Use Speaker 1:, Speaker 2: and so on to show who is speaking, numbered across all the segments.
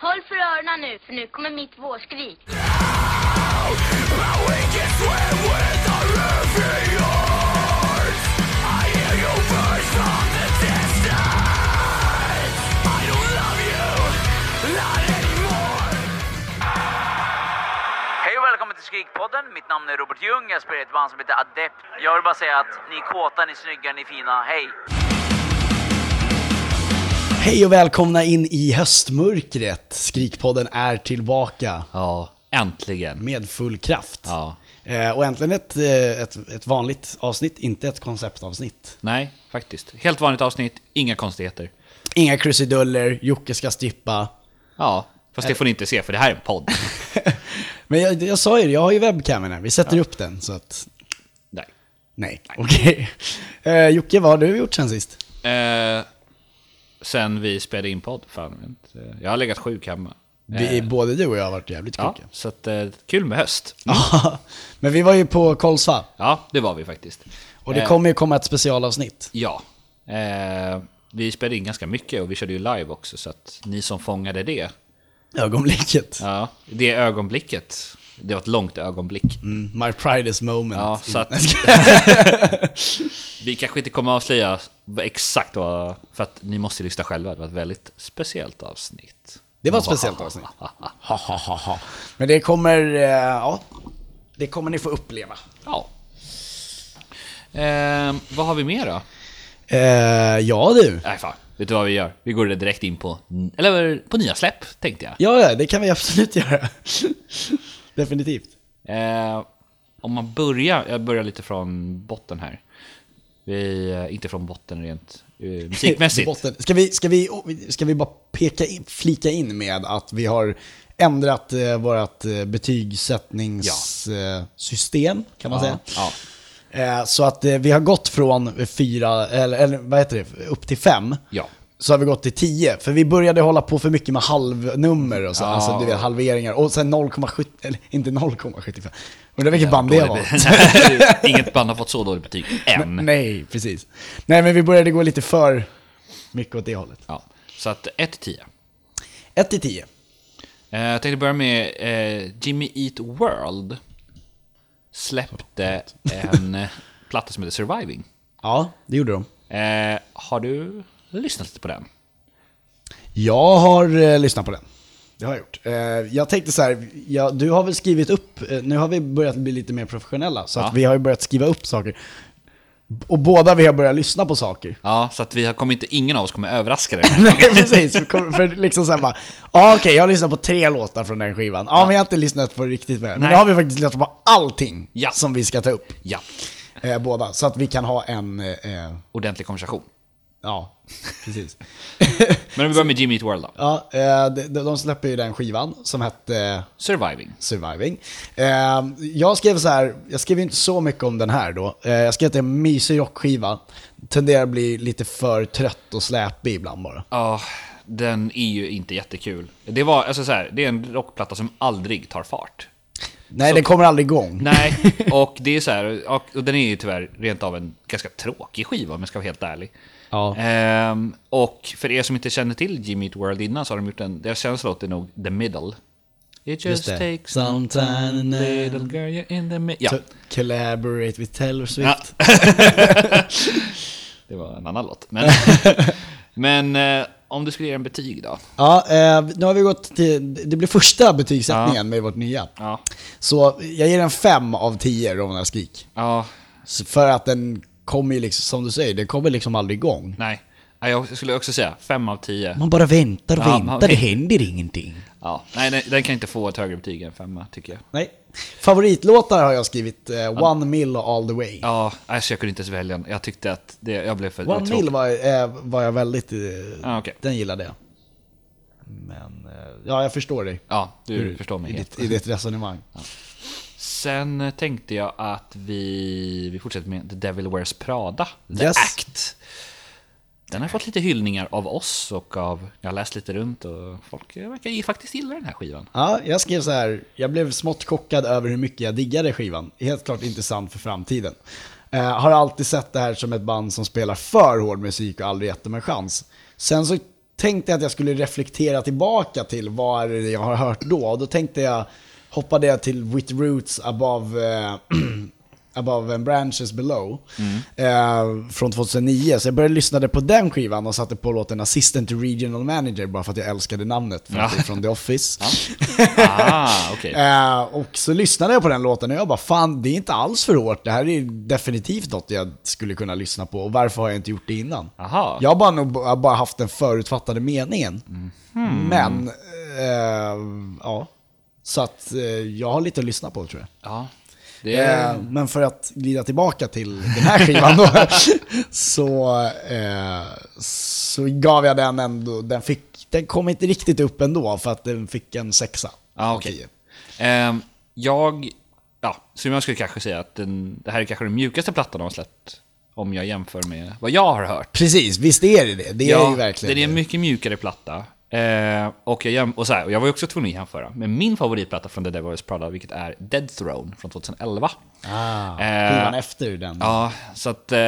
Speaker 1: Håll för öronen nu, för nu kommer mitt vårskrik.
Speaker 2: Hej och välkommen till Skrikpodden. Mitt namn är Robert Ljung. Jag spelar i ett band som heter Adept. Jag vill bara säga att ni är kåta, ni är snygga, ni är fina. Hej!
Speaker 3: Hej och välkomna in i höstmörkret. Skrikpodden är tillbaka
Speaker 4: Ja, äntligen.
Speaker 3: med full kraft.
Speaker 4: Ja.
Speaker 3: Eh, och äntligen ett, eh, ett, ett vanligt avsnitt, inte ett konceptavsnitt.
Speaker 4: Nej, faktiskt. Helt vanligt avsnitt, inga konstigheter.
Speaker 3: Inga krusiduller, Jocke ska strippa.
Speaker 4: Ja, fast det får ni inte se för det här är en podd.
Speaker 3: Men jag, jag sa ju det, jag har ju webcamen här, vi sätter upp den så att...
Speaker 4: Nej.
Speaker 3: Nej, okej. Eh, Jocke, vad har du gjort sen sist?
Speaker 4: Eh, sen vi spelade in podd, fan. jag vet inte. Jag har legat sjuk hemma.
Speaker 3: Vi, både du och jag har varit jävligt
Speaker 4: Eh. Ja,
Speaker 3: sjuka.
Speaker 4: så att, eh, kul med höst.
Speaker 3: Ja. Men vi var ju på Kolsva
Speaker 4: Ja, det var vi faktiskt.
Speaker 3: och det
Speaker 4: Eh,
Speaker 3: kommer ju komma ett specialavsnitt.
Speaker 4: Ja. Eh, vi spelade in ganska mycket och vi körde ju live också, så att ni som fångade det,
Speaker 3: Ögonblicket.
Speaker 4: ja, det ögonblicket, det var ett långt ögonblick.
Speaker 3: Mm, My pridest moment.
Speaker 4: Ja, så att- Vi kanske inte kommer avslöja exakt vad, för att ni måste lyssna själva. Det var ett väldigt speciellt avsnitt.
Speaker 3: Det var ett speciellt avsnitt. Men det kommer, eh, ja, det kommer ni få uppleva.
Speaker 4: Ja. Ehm, vad har vi mer då?
Speaker 3: Eh, ja du.
Speaker 4: Nej fan, vet du vad vi gör? Vi går direkt in på, eller på nya släpp tänkte jag.
Speaker 3: Ja, ja, det kan vi absolut göra. Definitivt.
Speaker 4: Ehm, om man börjar, jag börjar lite från botten här. Vi, eh, inte från botten rent eh, musikmässigt.
Speaker 3: Botten. Ska vi, ska vi, oh, ska vi bara peka in, flika in med att vi har ändrat eh, vårt eh, betygssättningssystem, kan man säga.
Speaker 4: Ja,
Speaker 3: Eh, så att eh, vi har gått från fyra, eller, eller vad heter det, upp till fem.
Speaker 4: ja.
Speaker 3: så har vi gått till 10, för vi började hålla på för mycket med halvnummer och så, alltså du vet halveringar, och sen 0,70, eller inte 0,75, undrar vilket band det var?
Speaker 4: Dåligt- Inget band har fått så dåligt betyg än.
Speaker 3: Nej, precis. Nej men vi började gå lite för mycket åt det hållet.
Speaker 4: Ja. Så att 1 till 10.
Speaker 3: 1 till 10.
Speaker 4: Eh, Jag tänkte börja med eh, Jimmy Eat World släppte en eh, platta som heter Surviving.
Speaker 3: Ja, det gjorde de.
Speaker 4: Eh, har du lyssnat lite på den?
Speaker 3: Jag har eh, lyssnat på den. Det har jag gjort. Eh, jag tänkte så här, ja, du har väl skrivit upp, eh, nu har vi börjat bli lite mer professionella, så
Speaker 4: Ja.
Speaker 3: att vi har ju börjat skriva upp saker. Och båda vi har börjat lyssna på saker.
Speaker 4: Ja, så att vi har kommit, ingen av oss kommer överraska dig.
Speaker 3: Nej precis, för, för liksom såhär bara, ja okej jag har lyssnat på tre låtar från den skivan, ja men jag har inte lyssnat på riktigt med. Men
Speaker 4: Nej.
Speaker 3: nu har vi faktiskt lyssnat på allting
Speaker 4: Ja.
Speaker 3: som vi ska ta upp,
Speaker 4: Ja,
Speaker 3: eh, båda. Så att vi kan ha en, eh, eh,
Speaker 4: ordentlig konversation.
Speaker 3: ja precis.
Speaker 4: Men om vi börjar med Jimmy Eat World då.
Speaker 3: ja, eh, de, de släpper ju den skivan som hette eh,
Speaker 4: Surviving.
Speaker 3: Surviving. Eh, jag skrev så här, jag skrev ju inte så mycket om den här då. Eh, jag skrev att det är en mysig rockskiva, tenderar att bli lite för trött och släpig ibland bara.
Speaker 4: Ja, den är ju inte jättekul. Det var, alltså så här, det är en rockplatta som aldrig tar fart.
Speaker 3: Nej, den kommer aldrig igång.
Speaker 4: Nej, och det är så här, och, och den är ju tyvärr rent av en ganska tråkig skiva om jag ska vara helt ärlig.
Speaker 3: Ja.
Speaker 4: Ehm, och för er som inte känner till Jimmy Eat World innan så har de gjort en, deras senaste låt är nog The Middle. It just
Speaker 3: det.
Speaker 4: takes some
Speaker 3: Sometime
Speaker 4: time,
Speaker 3: and then- Typ.
Speaker 4: little girl, you're in the middle. Ja,
Speaker 3: To collaborate with Taylor
Speaker 4: Ja.
Speaker 3: Swift.
Speaker 4: det var en annan låt. Men, men eh, om du skulle ge en betyg då?
Speaker 3: Ja, eh, nu har vi gått till, det blir första betygssättningen med vårt nya.
Speaker 4: Ja.
Speaker 3: Så jag ger den 5 av 10, Rovna Skrik.
Speaker 4: Ja,
Speaker 3: Så För att den kommer ju liksom, som du säger, den kommer liksom aldrig igång.
Speaker 4: nej. Ja, Jag skulle också säga 5 av 10.
Speaker 3: Man bara väntar och
Speaker 4: Ja,
Speaker 3: väntar,
Speaker 4: man-
Speaker 3: det händer ingenting.
Speaker 4: Ja, nej, nej, den kan inte få ett högre betyg än 5 tycker jag.
Speaker 3: Nej. Favoritlåtar har jag skrivit, eh, One Mill och All The Way.
Speaker 4: Ja, alltså jag kunde inte ens välja en. Jag tyckte att det, jag blev för
Speaker 3: One
Speaker 4: tråkig.
Speaker 3: Mill var, eh, var jag väldigt, eh,
Speaker 4: Ja, okej.
Speaker 3: den gillade jag. Men, eh, ja jag förstår dig.
Speaker 4: Ja, du förstår mig
Speaker 3: Mm. I
Speaker 4: helt.
Speaker 3: ditt, I ditt resonemang.
Speaker 4: Sen tänkte jag att vi, vi fortsätter med The Devil Wears Prada, The
Speaker 3: Yes.
Speaker 4: Act. Den har fått lite hyllningar av oss och av, jag har läst lite runt och folk verkar ju faktiskt gilla den här skivan.
Speaker 3: Ja, jag skrev så här. Jag blev smått chockad över hur mycket jag diggade skivan. Helt klart intressant för framtiden. Eh, har alltid sett det här som ett band som spelar för hård musik och aldrig gett dem en chans. Sen så tänkte jag att jag skulle reflektera tillbaka till vad är det jag har hört då. Och då tänkte jag, hoppade jag till With Roots above, eh, above and Branches Below eh, från 2009. Så jag började lyssna på den skivan och satte på låten Assistant to Regional Manager bara för att jag älskade namnet, för att det är från The Office.
Speaker 4: Ah, okej.
Speaker 3: Eh, och så lyssnade jag på den låten och jag bara, fan det är inte alls för hårt. Det här är definitivt något jag skulle kunna lyssna på. Och varför har jag inte gjort det innan?
Speaker 4: Aha. Mm.
Speaker 3: Jag har bara, nog, jag har bara haft den förutfattade meningen.
Speaker 4: Hmm.
Speaker 3: Men, eh, ja. Så att eh, jag har lite att lyssna på tror jag.
Speaker 4: Ja. Det är...
Speaker 3: Eh, men för att glida tillbaka till den här skivan då, så, eh, så gav jag den ändå, den, fick, den kom inte riktigt upp ändå för att den fick en sexa.
Speaker 4: Ja, okej.
Speaker 3: av tio.
Speaker 4: Ehm, jag... Ja, så jag skulle kanske säga att den, det här är kanske den mjukaste plattan de har släppt. Om jag jämför med vad jag har hört.
Speaker 3: Precis, visst är det det. Det är ju verkligen
Speaker 4: den är
Speaker 3: det.
Speaker 4: en mycket mjukare platta. Eh, och, jag, jäm- och, så här, och jag var ju också tvungen att jämföra med min favoritplatta från The Devil Wears Prada, vilket är Dead Throne från 2011.
Speaker 3: Ah,
Speaker 4: Eh,
Speaker 3: skivan efter den.
Speaker 4: Ja, så att eh,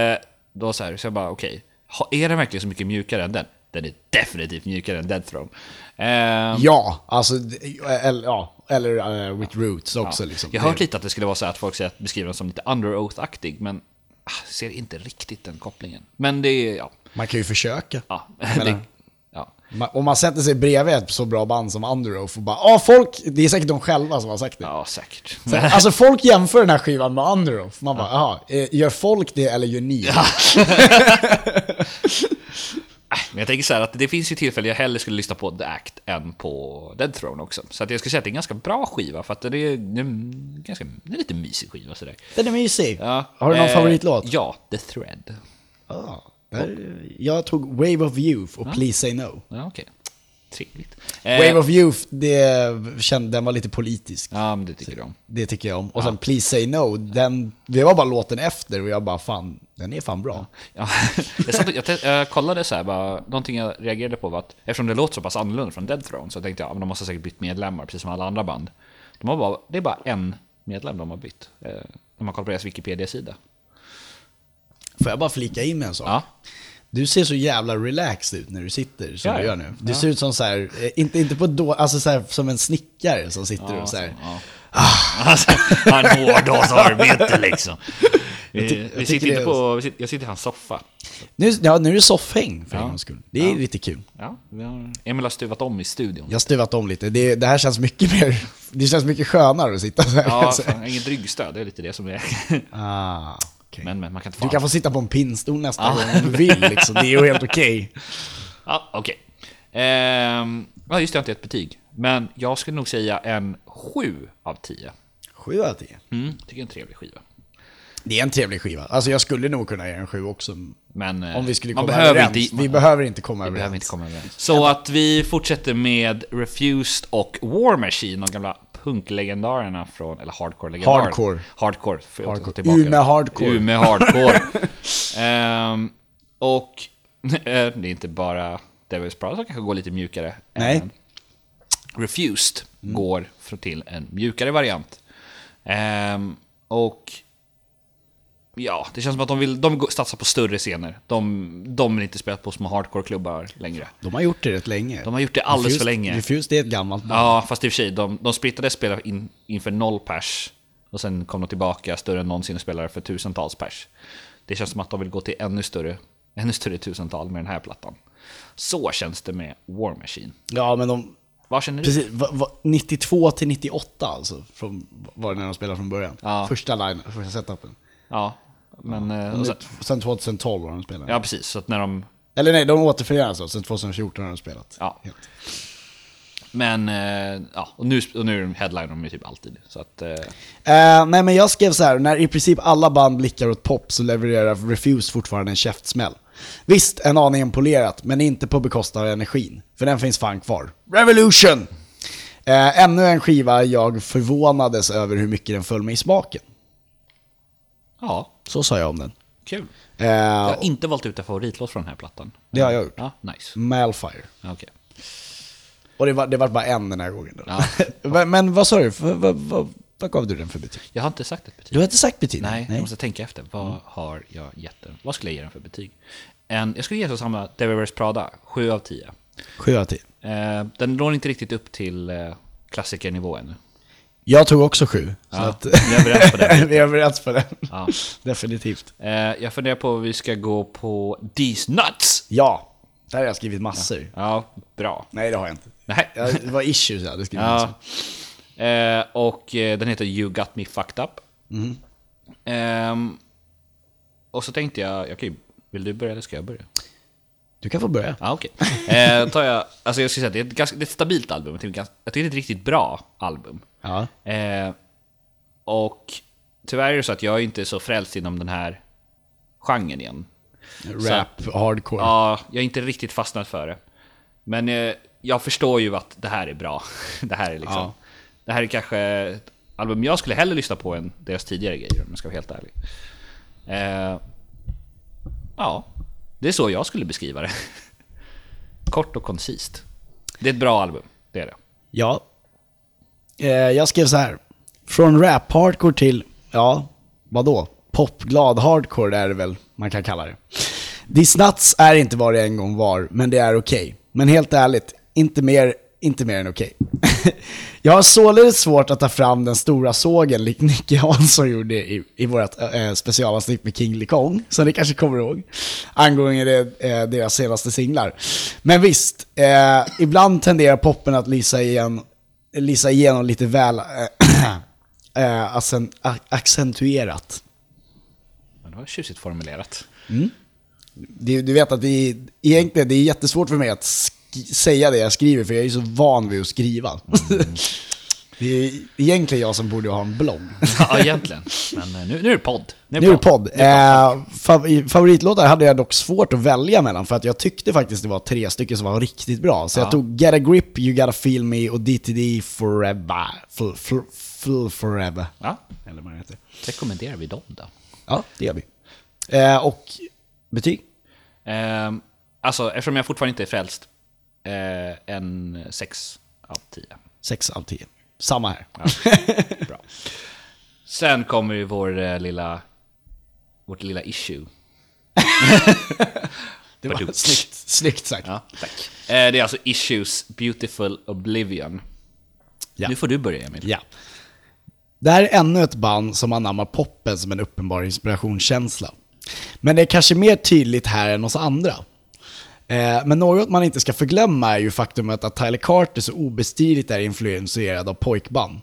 Speaker 4: då så här, så jag bara okej, ha- är den verkligen så mycket mjukare än den? Den är definitivt mjukare än Dead Throne. Ehm,
Speaker 3: Ja, alltså, d- eller, ja, eller eh, With Roots också liksom.
Speaker 4: Jag har hört
Speaker 3: Det-
Speaker 4: lite att det skulle vara så här att folk säger att beskriver den som lite under oath-aktig, men ah, ser inte riktigt den kopplingen. Men det är, ja.
Speaker 3: Man kan ju försöka.
Speaker 4: ja, det, ja.
Speaker 3: Ma- Om man sätter sig bredvid ett så bra band som Underoath och bara ja, folk, det är säkert de själva som har sagt det.
Speaker 4: ja säkert.
Speaker 3: Så, alltså folk jämför den här skivan med Underoath. Man bara, jaha, eh, gör folk det eller gör ni?
Speaker 4: Men jag tänker så här att det finns ju tillfällen jag hellre skulle lyssna på The Act än på Dead Throne också. Så att jag skulle säga att det är en ganska bra skiva för att det är en ganska, det är en lite mysig skiva sådär.
Speaker 3: Den är mysig.
Speaker 4: Ja,
Speaker 3: Har du någon
Speaker 4: eh,
Speaker 3: favoritlåt?
Speaker 4: Ja, The Thread.
Speaker 3: Ja. Där, jag tog Wave of Youth och Please Say No.
Speaker 4: Ja, okej. Trevligt.
Speaker 3: Wave of Youth, det, kände, den var lite politisk.
Speaker 4: Ja, men det tycker de.
Speaker 3: Det tycker jag om. Och sen Please Say No, den, det var bara låten efter och jag bara fan, den är fan bra.
Speaker 4: Ja, jag, satt och, jag, te- jag kollade så här, bara, någonting jag reagerade på var att eftersom det låter så pass annorlunda från Dead Throne så tänkte jag att de måste säkert bytt medlemmar, precis som alla andra band. De har bara, det är bara en medlem de har bytt, eh, när man kollar på deras Wikipedia-sida.
Speaker 3: Får jag bara flika in med en sak?
Speaker 4: Ja.
Speaker 3: Du ser så jävla relaxed ut när du sitter som
Speaker 4: Ja,
Speaker 3: du
Speaker 4: ja.
Speaker 3: gör nu. Du ser ut som så här, eh, inte, inte på då, alltså så här, som en snickare som sitter och så här.
Speaker 4: Ja. Alltså, han har hårddagsarbete liksom. Vi,
Speaker 3: ty- jag
Speaker 4: vi
Speaker 3: tycker
Speaker 4: sitter inte
Speaker 3: det-
Speaker 4: på, vi sitter, jag sitter i hans soffa.
Speaker 3: Nu, ja, nu är det soffhäng för en
Speaker 4: Ja.
Speaker 3: gångs skull. Det är lite kul.
Speaker 4: Ja, vi har, Emil har stuvat om i studion.
Speaker 3: Jag har stuvat om lite. Det, det här känns mycket mer, det känns mycket skönare att sitta så här.
Speaker 4: Ja,
Speaker 3: Så-
Speaker 4: fan, inget ryggstöd, det är lite det som det är.
Speaker 3: Ah, okej.
Speaker 4: Men, Ah. men man kan inte
Speaker 3: Du kan få sitta på en pinnstol nästa gång om du vill. Liksom. Det är ju helt okej.
Speaker 4: Ja, okej. Ehm, ja, just det, jag har inte gett betyg. Men jag skulle nog säga en 7 av 10.
Speaker 3: Sju av tio.
Speaker 4: Mm. Tycker det är en trevlig skiva.
Speaker 3: Det är en trevlig skiva. Alltså jag skulle nog kunna ge en sju också.
Speaker 4: Men eh,
Speaker 3: Om vi skulle
Speaker 4: man
Speaker 3: komma
Speaker 4: behöver
Speaker 3: överens.
Speaker 4: Inte,
Speaker 3: vi
Speaker 4: man,
Speaker 3: behöver inte komma
Speaker 4: vi
Speaker 3: överens.
Speaker 4: behöver inte komma överens. Så att vi fortsätter med Refused och War Machine, de gamla punklegendarerna från, eller hardcore-legendarerna.
Speaker 3: Hardcore.
Speaker 4: Hardcore. För
Speaker 3: Hardcore.
Speaker 4: hardcore. Tillbaka.
Speaker 3: Umeå hardcore.
Speaker 4: Umeå hardcore. Ehm, och eh, det är inte bara Devil's Prada som kanske går lite mjukare.
Speaker 3: Nej.
Speaker 4: än- Refused går för- till en mjukare variant. Ehm, och ja, det känns som att de vill de går- satsar på större scener. De, de vill inte spela på små hardcore-klubbar längre.
Speaker 3: De har gjort det rätt länge.
Speaker 4: De har gjort det alldeles
Speaker 3: Refused-
Speaker 4: för länge.
Speaker 3: Refused är ett gammalt band.
Speaker 4: Ja, fast i och för sig, de, de splittade spelare in, inför noll pers. Och sen kom de tillbaka större än någonsin och spelade för tusentals pers. Det känns som att de vill gå till ännu större, ännu större tusental med den här plattan. Så känns det med War Machine.
Speaker 3: Ja, men de...
Speaker 4: Vad känner du?
Speaker 3: Precis, va, va, 92 till 98 alltså, från, var det när de spelade från början.
Speaker 4: Ja.
Speaker 3: Första line, första setupen.
Speaker 4: Ja, men... eh, och
Speaker 3: Och
Speaker 4: sen,
Speaker 3: Sen, sen 2012 har de spelat.
Speaker 4: ja, precis. Så att när de
Speaker 3: Eller nej, de återförenas då, sen 2014 har de spelat.
Speaker 4: Ja.
Speaker 3: Helt.
Speaker 4: Men eh, ja, och nu, och nu är de headliner de ju typ alltid. Så att, eh,
Speaker 3: Eh, nej men jag skrev så här, när i princip alla band blickar åt pop så levererar Refused fortfarande en käftsmäll. Visst, en aning empolerat, men inte på bekostnad av energin. För den finns fan kvar. Revolution! Eh, ännu en skiva jag förvånades över hur mycket den föll mig i smaken.
Speaker 4: ja,
Speaker 3: Så sa jag om den.
Speaker 4: kul. Jag
Speaker 3: Eh,
Speaker 4: har inte valt ut en favoritlåt från den här plattan.
Speaker 3: det har jag gjort.
Speaker 4: Ja, nice.
Speaker 3: Malfire.
Speaker 4: Ja, Okej.
Speaker 3: Och det var, det var bara en den här gången. Då.
Speaker 4: Ja.
Speaker 3: men, men vad sa du? Vad, vad, vad, vad gav du den för betyg?
Speaker 4: Jag har inte sagt ett betyg.
Speaker 3: Du har inte sagt betyg?
Speaker 4: Nej, jag måste tänka efter. Vad har jag gett den? Vad skulle jag ge den för betyg? En, jag skulle ge den samma Devil Wears Prada, 7 av 10.
Speaker 3: Sju av tio.
Speaker 4: Eh, den når inte riktigt upp till eh, klassikernivå ännu.
Speaker 3: Jag tog också sju. Så
Speaker 4: Ja,
Speaker 3: att,
Speaker 4: vi är överens på den.
Speaker 3: vi är överens på den.
Speaker 4: Ja.
Speaker 3: Definitivt.
Speaker 4: Eh, jag funderar på om vi ska gå på These Nuts.
Speaker 3: Ja, där har jag skrivit massor.
Speaker 4: Ja, bra.
Speaker 3: Nej, det har jag inte.
Speaker 4: Nej.
Speaker 3: Jag, det var issues jag hade skrivit. massor.
Speaker 4: Ja. Eh, och eh, den heter You Got Me Fucked Up. Ehm, och så tänkte jag, okej, vill du börja eller ska jag börja?
Speaker 3: Du kan få börja.
Speaker 4: Ja, okej. Eh, tar jag, alltså jag skulle säga att det är ett, ganska, det är ett stabilt album. Jag tycker, jag tycker det är ett riktigt bra album.
Speaker 3: Ja.
Speaker 4: Eh, och tyvärr är det så att jag är inte så frälst inom den här genren igen.
Speaker 3: Rap, hardcore.
Speaker 4: Ja, jag är inte riktigt fastnat för det. Men eh, jag förstår ju att det här är bra. Det här är liksom...
Speaker 3: Ja.
Speaker 4: Det här är kanske ett album jag skulle hellre lyssna på än deras tidigare grejer om jag ska vara helt ärlig. Eh, ja, det är så jag skulle beskriva det. Kort och koncist. Det är ett bra album, det är det.
Speaker 3: Ja. Eh, jag skrev så här. Från rap-hardcore till, ja, vadå? Popglad hardcore det är det väl man kan kalla det. These nuts är inte vad det en gång var, men det är okej. Men helt ärligt, inte mer, inte mer än okej. jag har således svårt att ta fram den stora sågen likt Nicke Hansson gjorde i, i vårt eh, specialavsnitt med King Likong, som ni kanske kommer ihåg, angående det, eh, deras senaste singlar. Men visst, eh, ibland tenderar poppen att lysa, igen, lysa igenom lite väl eh, eh, accen- a- accentuerat.
Speaker 4: Men det var tjusigt formulerat.
Speaker 3: Du, du vet att det är, egentligen det är jättesvårt för mig att sk- säga det jag skriver, för jag är så van vid att skriva. det är egentligen jag som borde ha en blogg.
Speaker 4: ja, egentligen. Men eh, nu, nu är det podd.
Speaker 3: Nu är det podd. Eh, fav- favoritlåtar hade jag dock svårt att välja mellan för att jag tyckte faktiskt det var tre stycken som var riktigt bra. Så jag tog Get a Grip, You Gotta Feel Me och DTD Forever. Full, full, full forever.
Speaker 4: Ja,
Speaker 3: Eller vad det heter.
Speaker 4: rekommenderar vi dem då.
Speaker 3: Ja, det gör vi. Eh, och betyg?
Speaker 4: Ehm, alltså, eftersom jag fortfarande inte är frälst, eh, en 6 av 10.
Speaker 3: 6 av 10. Samma här.
Speaker 4: Bra. Sen kommer ju vår eh, lilla... Vårt lilla issue.
Speaker 3: Det
Speaker 4: Vadå?
Speaker 3: var snyggt, snyggt sagt.
Speaker 4: Ja, tack. Eh, det är alltså Issues Beautiful Oblivion.
Speaker 3: Ja.
Speaker 4: Nu får du börja, Emil.
Speaker 3: Ja. Det här är ännu ett band som anammar poppen som en uppenbar inspirationskänsla. Men det är kanske mer tydligt här än hos andra. Eh, Men något man inte ska förglömma är ju faktumet att Tyler Carter så obestridligt är influerad av pojkband.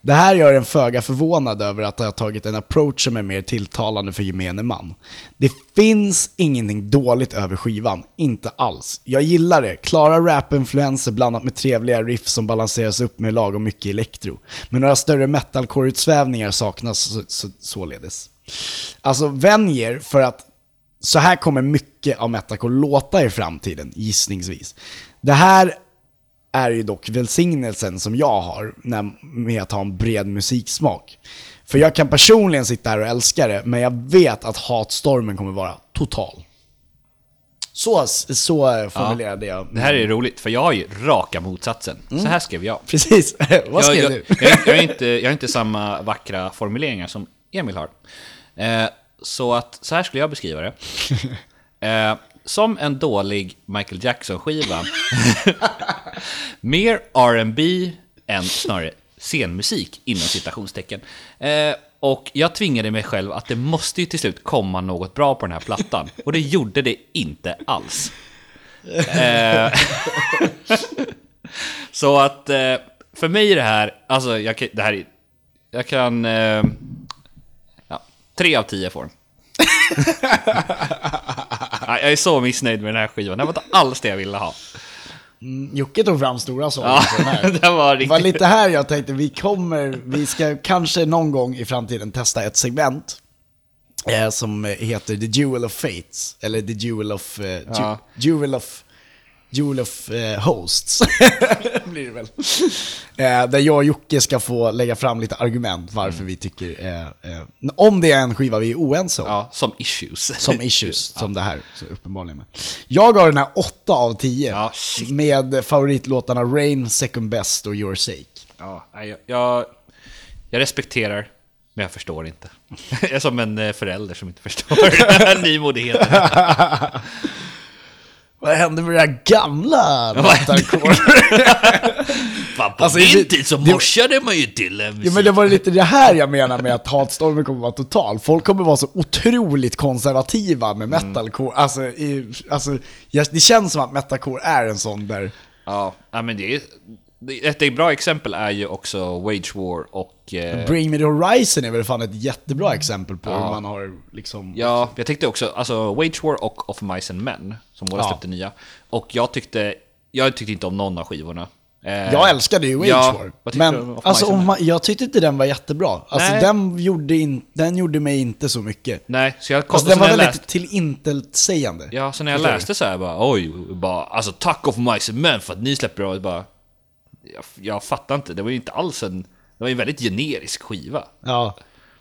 Speaker 3: Det här gör en föga förvånad över att ha tagit en approach som är mer tilltalande för gemene man. Det finns ingenting dåligt över skivan, inte alls. Jag gillar det, klara rapinfluenser blandat med trevliga riff som balanseras upp med lagom mycket elektro. Men några större metalcore-utsvävningar saknas så, så, således. Alltså vänj er för att så här kommer mycket av metalcore låta i framtiden, gissningsvis. Det här är ju dock välsignelsen som jag har när, med att ha en bred musiksmak. För jag kan personligen sitta här och älska det, men jag vet att hatstormen kommer vara total. Så, så formulerade jag.
Speaker 4: Det här är roligt, för jag är ju raka motsatsen. Så här skrev jag.
Speaker 3: Precis, vad skrev
Speaker 4: jag,
Speaker 3: du?
Speaker 4: jag, jag, jag, är inte, jag har inte samma vackra formuleringar som Emil har. Eh, så att så här skulle jag beskriva det. Eh, som en dålig Michael Jackson-skiva. Mer R&B än snarare scenmusik inom citationstecken. Eh, och jag tvingade mig själv att det måste ju till slut komma något bra på den här plattan. Och det gjorde det inte alls. Så att eh, för mig är det här, alltså jag kan, det här är, jag kan, eh, ja, tre av tio får den. Ja, jag är så missnöjd med den här skivan, det var inte alls det jag ville ha.
Speaker 3: Jocke tog fram stora sånger
Speaker 4: Ja,
Speaker 3: på den här.
Speaker 4: det var
Speaker 3: Det var
Speaker 4: riktigt...
Speaker 3: lite här jag tänkte, vi kommer, vi ska kanske någon gång i framtiden testa ett segment eh, som heter The Jewel of Fates, eller The Jewel of... Eh, Ju-
Speaker 4: Ja.
Speaker 3: Jewel of... Jewel of eh, Hosts, blir det väl. Eh, där jag och Jocke ska få lägga fram lite argument varför
Speaker 4: Mm.
Speaker 3: vi tycker, eh, eh, om det är en skiva vi är oense om.
Speaker 4: Ja, som issues.
Speaker 3: Som issues, som det här, så uppenbarligen. Med. Jag har den här 8 av 10
Speaker 4: Ja, shit.
Speaker 3: med favoritlåtarna Rain, Second Best och Your Sake.
Speaker 4: Ja, nej, jag, jag, jag respekterar, men jag förstår inte. Jag är som en eh, förälder som inte förstår nymodigheten.
Speaker 3: Vad hände med det här gamla metalcore?
Speaker 4: Fan, på
Speaker 3: Alltså,
Speaker 4: min
Speaker 3: det-
Speaker 4: tid så
Speaker 3: det-
Speaker 4: morsade man ju till en
Speaker 3: Ja, men det var lite det här jag menar med att hatstormen kommer vara total. Folk kommer vara så otroligt konservativa med
Speaker 4: Mm.
Speaker 3: metalcore. Alltså, i, alltså jag, det känns som att metalcore är en sån där...
Speaker 4: Ja, ja, men det är, det- ett bra exempel är ju också Wage War och... Eh,
Speaker 3: Bring Me The Horizon är väl fan ett jättebra exempel på hur man har liksom...
Speaker 4: ja, jag tyckte också, alltså Wage War och Of Mice and Men, som båda
Speaker 3: Ja.
Speaker 4: släppte nya. Och jag tyckte, jag tyckte inte om någon av skivorna. Eh,
Speaker 3: Jag älskade ju Wage
Speaker 4: Ja,
Speaker 3: War.
Speaker 4: vad tyckte du om
Speaker 3: Men
Speaker 4: Mice
Speaker 3: alltså,
Speaker 4: and
Speaker 3: om
Speaker 4: Men?
Speaker 3: man, jag tyckte inte den var jättebra. Alltså,
Speaker 4: Nej.
Speaker 3: den, gjorde in, den gjorde mig inte så mycket.
Speaker 4: Nej, så jag
Speaker 3: Alltså,
Speaker 4: så
Speaker 3: den var
Speaker 4: när jag
Speaker 3: väldigt
Speaker 4: läste-
Speaker 3: tillintetsägande.
Speaker 4: Ja, så när jag
Speaker 3: Förstår du?
Speaker 4: läste så här bara oj, bara, alltså tack of mice and men för att ni släpper av bara jag, jag fattar inte, det var ju inte alls en det var ju en väldigt generisk skiva.
Speaker 3: Ja,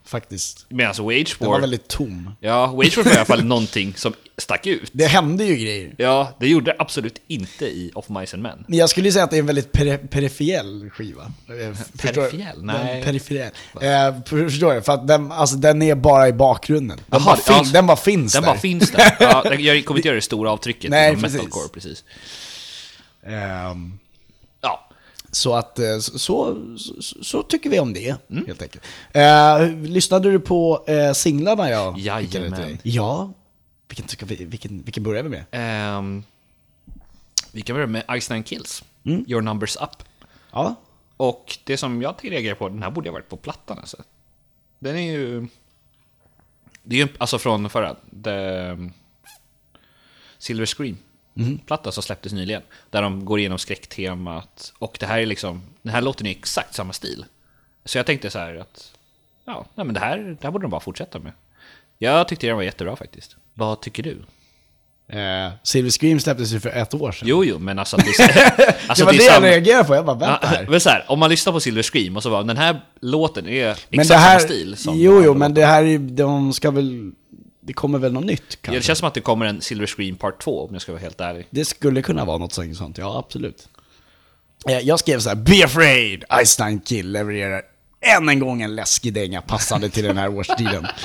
Speaker 3: faktiskt.
Speaker 4: Medan alltså Wage
Speaker 3: Den var
Speaker 4: War,
Speaker 3: väldigt tom.
Speaker 4: ja, Wage War var i alla fall någonting som stack ut.
Speaker 3: Det hände ju grejer.
Speaker 4: Ja, det gjorde det absolut inte i Of Mice and Men.
Speaker 3: Men jag skulle ju säga att det är en väldigt per- periferiell skiva. Eh, förstår du?
Speaker 4: Periferiell?
Speaker 3: Den-
Speaker 4: Nej.
Speaker 3: Periferiell. Eh, för- förstår du? För att den, alltså, den är bara i bakgrunden. Den,
Speaker 4: Jaha,
Speaker 3: bara,
Speaker 4: det-
Speaker 3: fin-
Speaker 4: alltså,
Speaker 3: den bara finns
Speaker 4: Den
Speaker 3: där.
Speaker 4: bara finns där. Ja, den- jag kommer inte göra det stora avtrycket
Speaker 3: Nej,
Speaker 4: inom
Speaker 3: precis.
Speaker 4: metalcore precis.
Speaker 3: Ehm,
Speaker 4: Ja,
Speaker 3: så att eh, så, så, så- så tycker vi om det,
Speaker 4: Mm.
Speaker 3: helt enkelt. Eh, lyssnade du på eh, singlarna jag
Speaker 4: Jajamän.
Speaker 3: skickade till dig? Ja. Vilken, tycker vi, vilken, vilken börjar vi med?
Speaker 4: ehm, vi kan börja med Ice Nine Kills,
Speaker 3: Mm.
Speaker 4: Your Numbers Up.
Speaker 3: Ja.
Speaker 4: Och det som jag reagerar på, den här borde ha varit på plattan alltså. Den är ju... Det är ju alltså från förra, the Silver Screen-plattan som släpptes nyligen. Där de går igenom skräcktemat. Och det här är liksom, den här låten är i exakt samma stil. Så jag tänkte så här att, ja, nej, men det här, det här borde de bara fortsätta med. Jag tyckte den var jättebra faktiskt. Vad tycker du?
Speaker 3: Eh, Silver Scream släpptes ju för ett år sedan.
Speaker 4: Jo, jo, men alltså att det är,
Speaker 3: det
Speaker 4: alltså,
Speaker 3: var det,
Speaker 4: att det är
Speaker 3: jag
Speaker 4: samma...
Speaker 3: reagerade på, jag bara vänta här.
Speaker 4: Men så här, om man lyssnar på Silver Scream och så bara, den här låten är exakt
Speaker 3: Men det här,
Speaker 4: samma stil som
Speaker 3: jo, jo, men det här är, de ska väl, det kommer väl något nytt
Speaker 4: Ja, Det
Speaker 3: kanske?
Speaker 4: känns som att det kommer en Silver Scream Part 2 om jag ska vara helt ärlig.
Speaker 3: Det skulle kunna vara något sånt, ja absolut. Eh, Jag skrev så här, Be afraid, Einstein Kill levererar än en gång en läskig dänga passande till den här årstiden.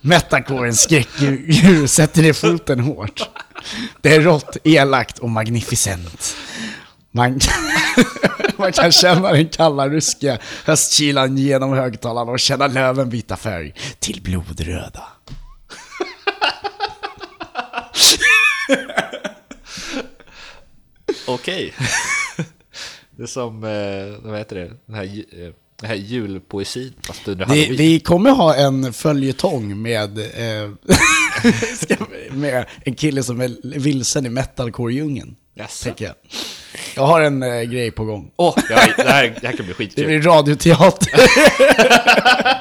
Speaker 3: Metacoren skräckdjur sätter ner foten hårt. Det är rått, elakt och magnificent. Man, man kan känna den kalla ryska höstkylan genom högtalarna och känna löven byta färg till blodröda.
Speaker 4: Okej. det är som, eh, vad heter det, den här, ju- eh, den här julpoesin fast under
Speaker 3: Vi,
Speaker 4: halloween.
Speaker 3: vi kommer ha en följetong med, eh, ska vi- med en kille som är vilsen i metalcore-djungeln.
Speaker 4: Jaså.
Speaker 3: tänker Jag. jag har en eh, grej på gång.
Speaker 4: Åh, ja, det, här, det här kan bli
Speaker 3: Det
Speaker 4: skitkul.
Speaker 3: blir radioteater.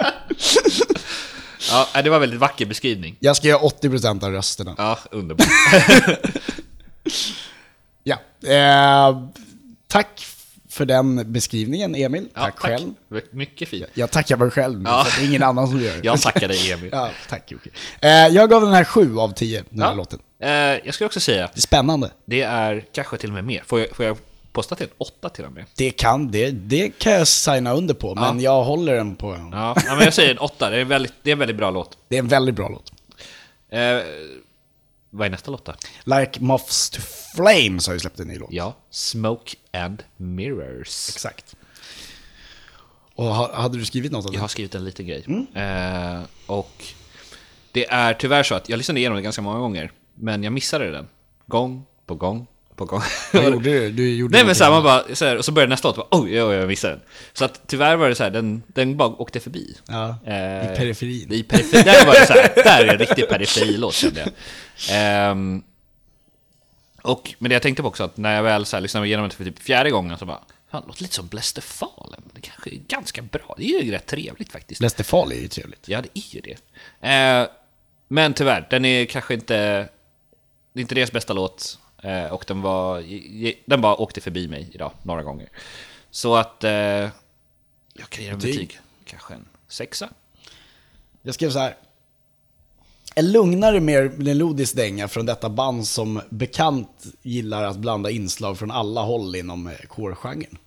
Speaker 4: Ja, nej, det var en väldigt vacker beskrivning.
Speaker 3: Jag ska göra 80% av rösterna.
Speaker 4: Ja, underbart.
Speaker 3: Ja. Eh, tack för den beskrivningen, Emil.
Speaker 4: Ja,
Speaker 3: tack, själv.
Speaker 4: Mycket fint.
Speaker 3: Jag tackar mig själv, nu,
Speaker 4: Ja.
Speaker 3: så det är ingen annan som gör det.
Speaker 4: Jag tackar dig Emil.
Speaker 3: Ja, tack Jocke. Eh, jag gav den här 7 av 10, den här
Speaker 4: Ja.
Speaker 3: låten.
Speaker 4: Eh, jag skulle också säga,
Speaker 3: Det är spännande.
Speaker 4: det är kanske till och med mer. Får jag, får jag posta till en åtta till och med?
Speaker 3: Det kan, det, det kan jag signa under på, men jag håller den på en
Speaker 4: Ja, ja, men jag säger en åtta. Det är, en väldigt, det är en väldigt bra låt.
Speaker 3: Det är en väldigt bra låt.
Speaker 4: Eh, vad är nästa låt då?
Speaker 3: Like Moths to Flames har ju släppt en ny låt.
Speaker 4: Ja, Smoke and Mirrors.
Speaker 3: Exakt. Och ha- hade du skrivit något av det?
Speaker 4: Jag har skrivit en liten grej.
Speaker 3: Mm.
Speaker 4: Eh, och det är tyvärr så att jag lyssnade igenom det ganska många gånger, men jag missade den. Gång på gång på gång.
Speaker 3: Vad gjorde du? Du gjorde
Speaker 4: Nej
Speaker 3: någonting.
Speaker 4: men såhär, man bara, så här, och så började nästa låt, och bara, oj, oj, oj, jag missade den. Så att tyvärr var det såhär, den, den bara åkte förbi.
Speaker 3: Ja, i
Speaker 4: Eh,
Speaker 3: periferin.
Speaker 4: I periferin. Där var det såhär, där är en riktig periferilåt kände jag. Ehm, och, men det jag tänkte på också, att när jag väl så här, lyssnade igenom det för typ fjärde gången så bara, fan, det låter lite som Bläster Fallen. Det kanske är ganska bra, det är ju rätt trevligt faktiskt.
Speaker 3: Lestefal är ju trevligt.
Speaker 4: Ja, det är ju det. Eh, men tyvärr, den är kanske inte... Det är inte deras bästa låt. Eh, och den var... Den bara åkte förbi mig idag, några gånger. Så att... Eh, jag kan ge den
Speaker 3: Betyg?
Speaker 4: betyg. Kanske en sexa?
Speaker 3: Jag skrev så här. En lugnare, mer melodisk dänga från detta band som bekant gillar att blanda inslag från alla håll inom eh, core-genren.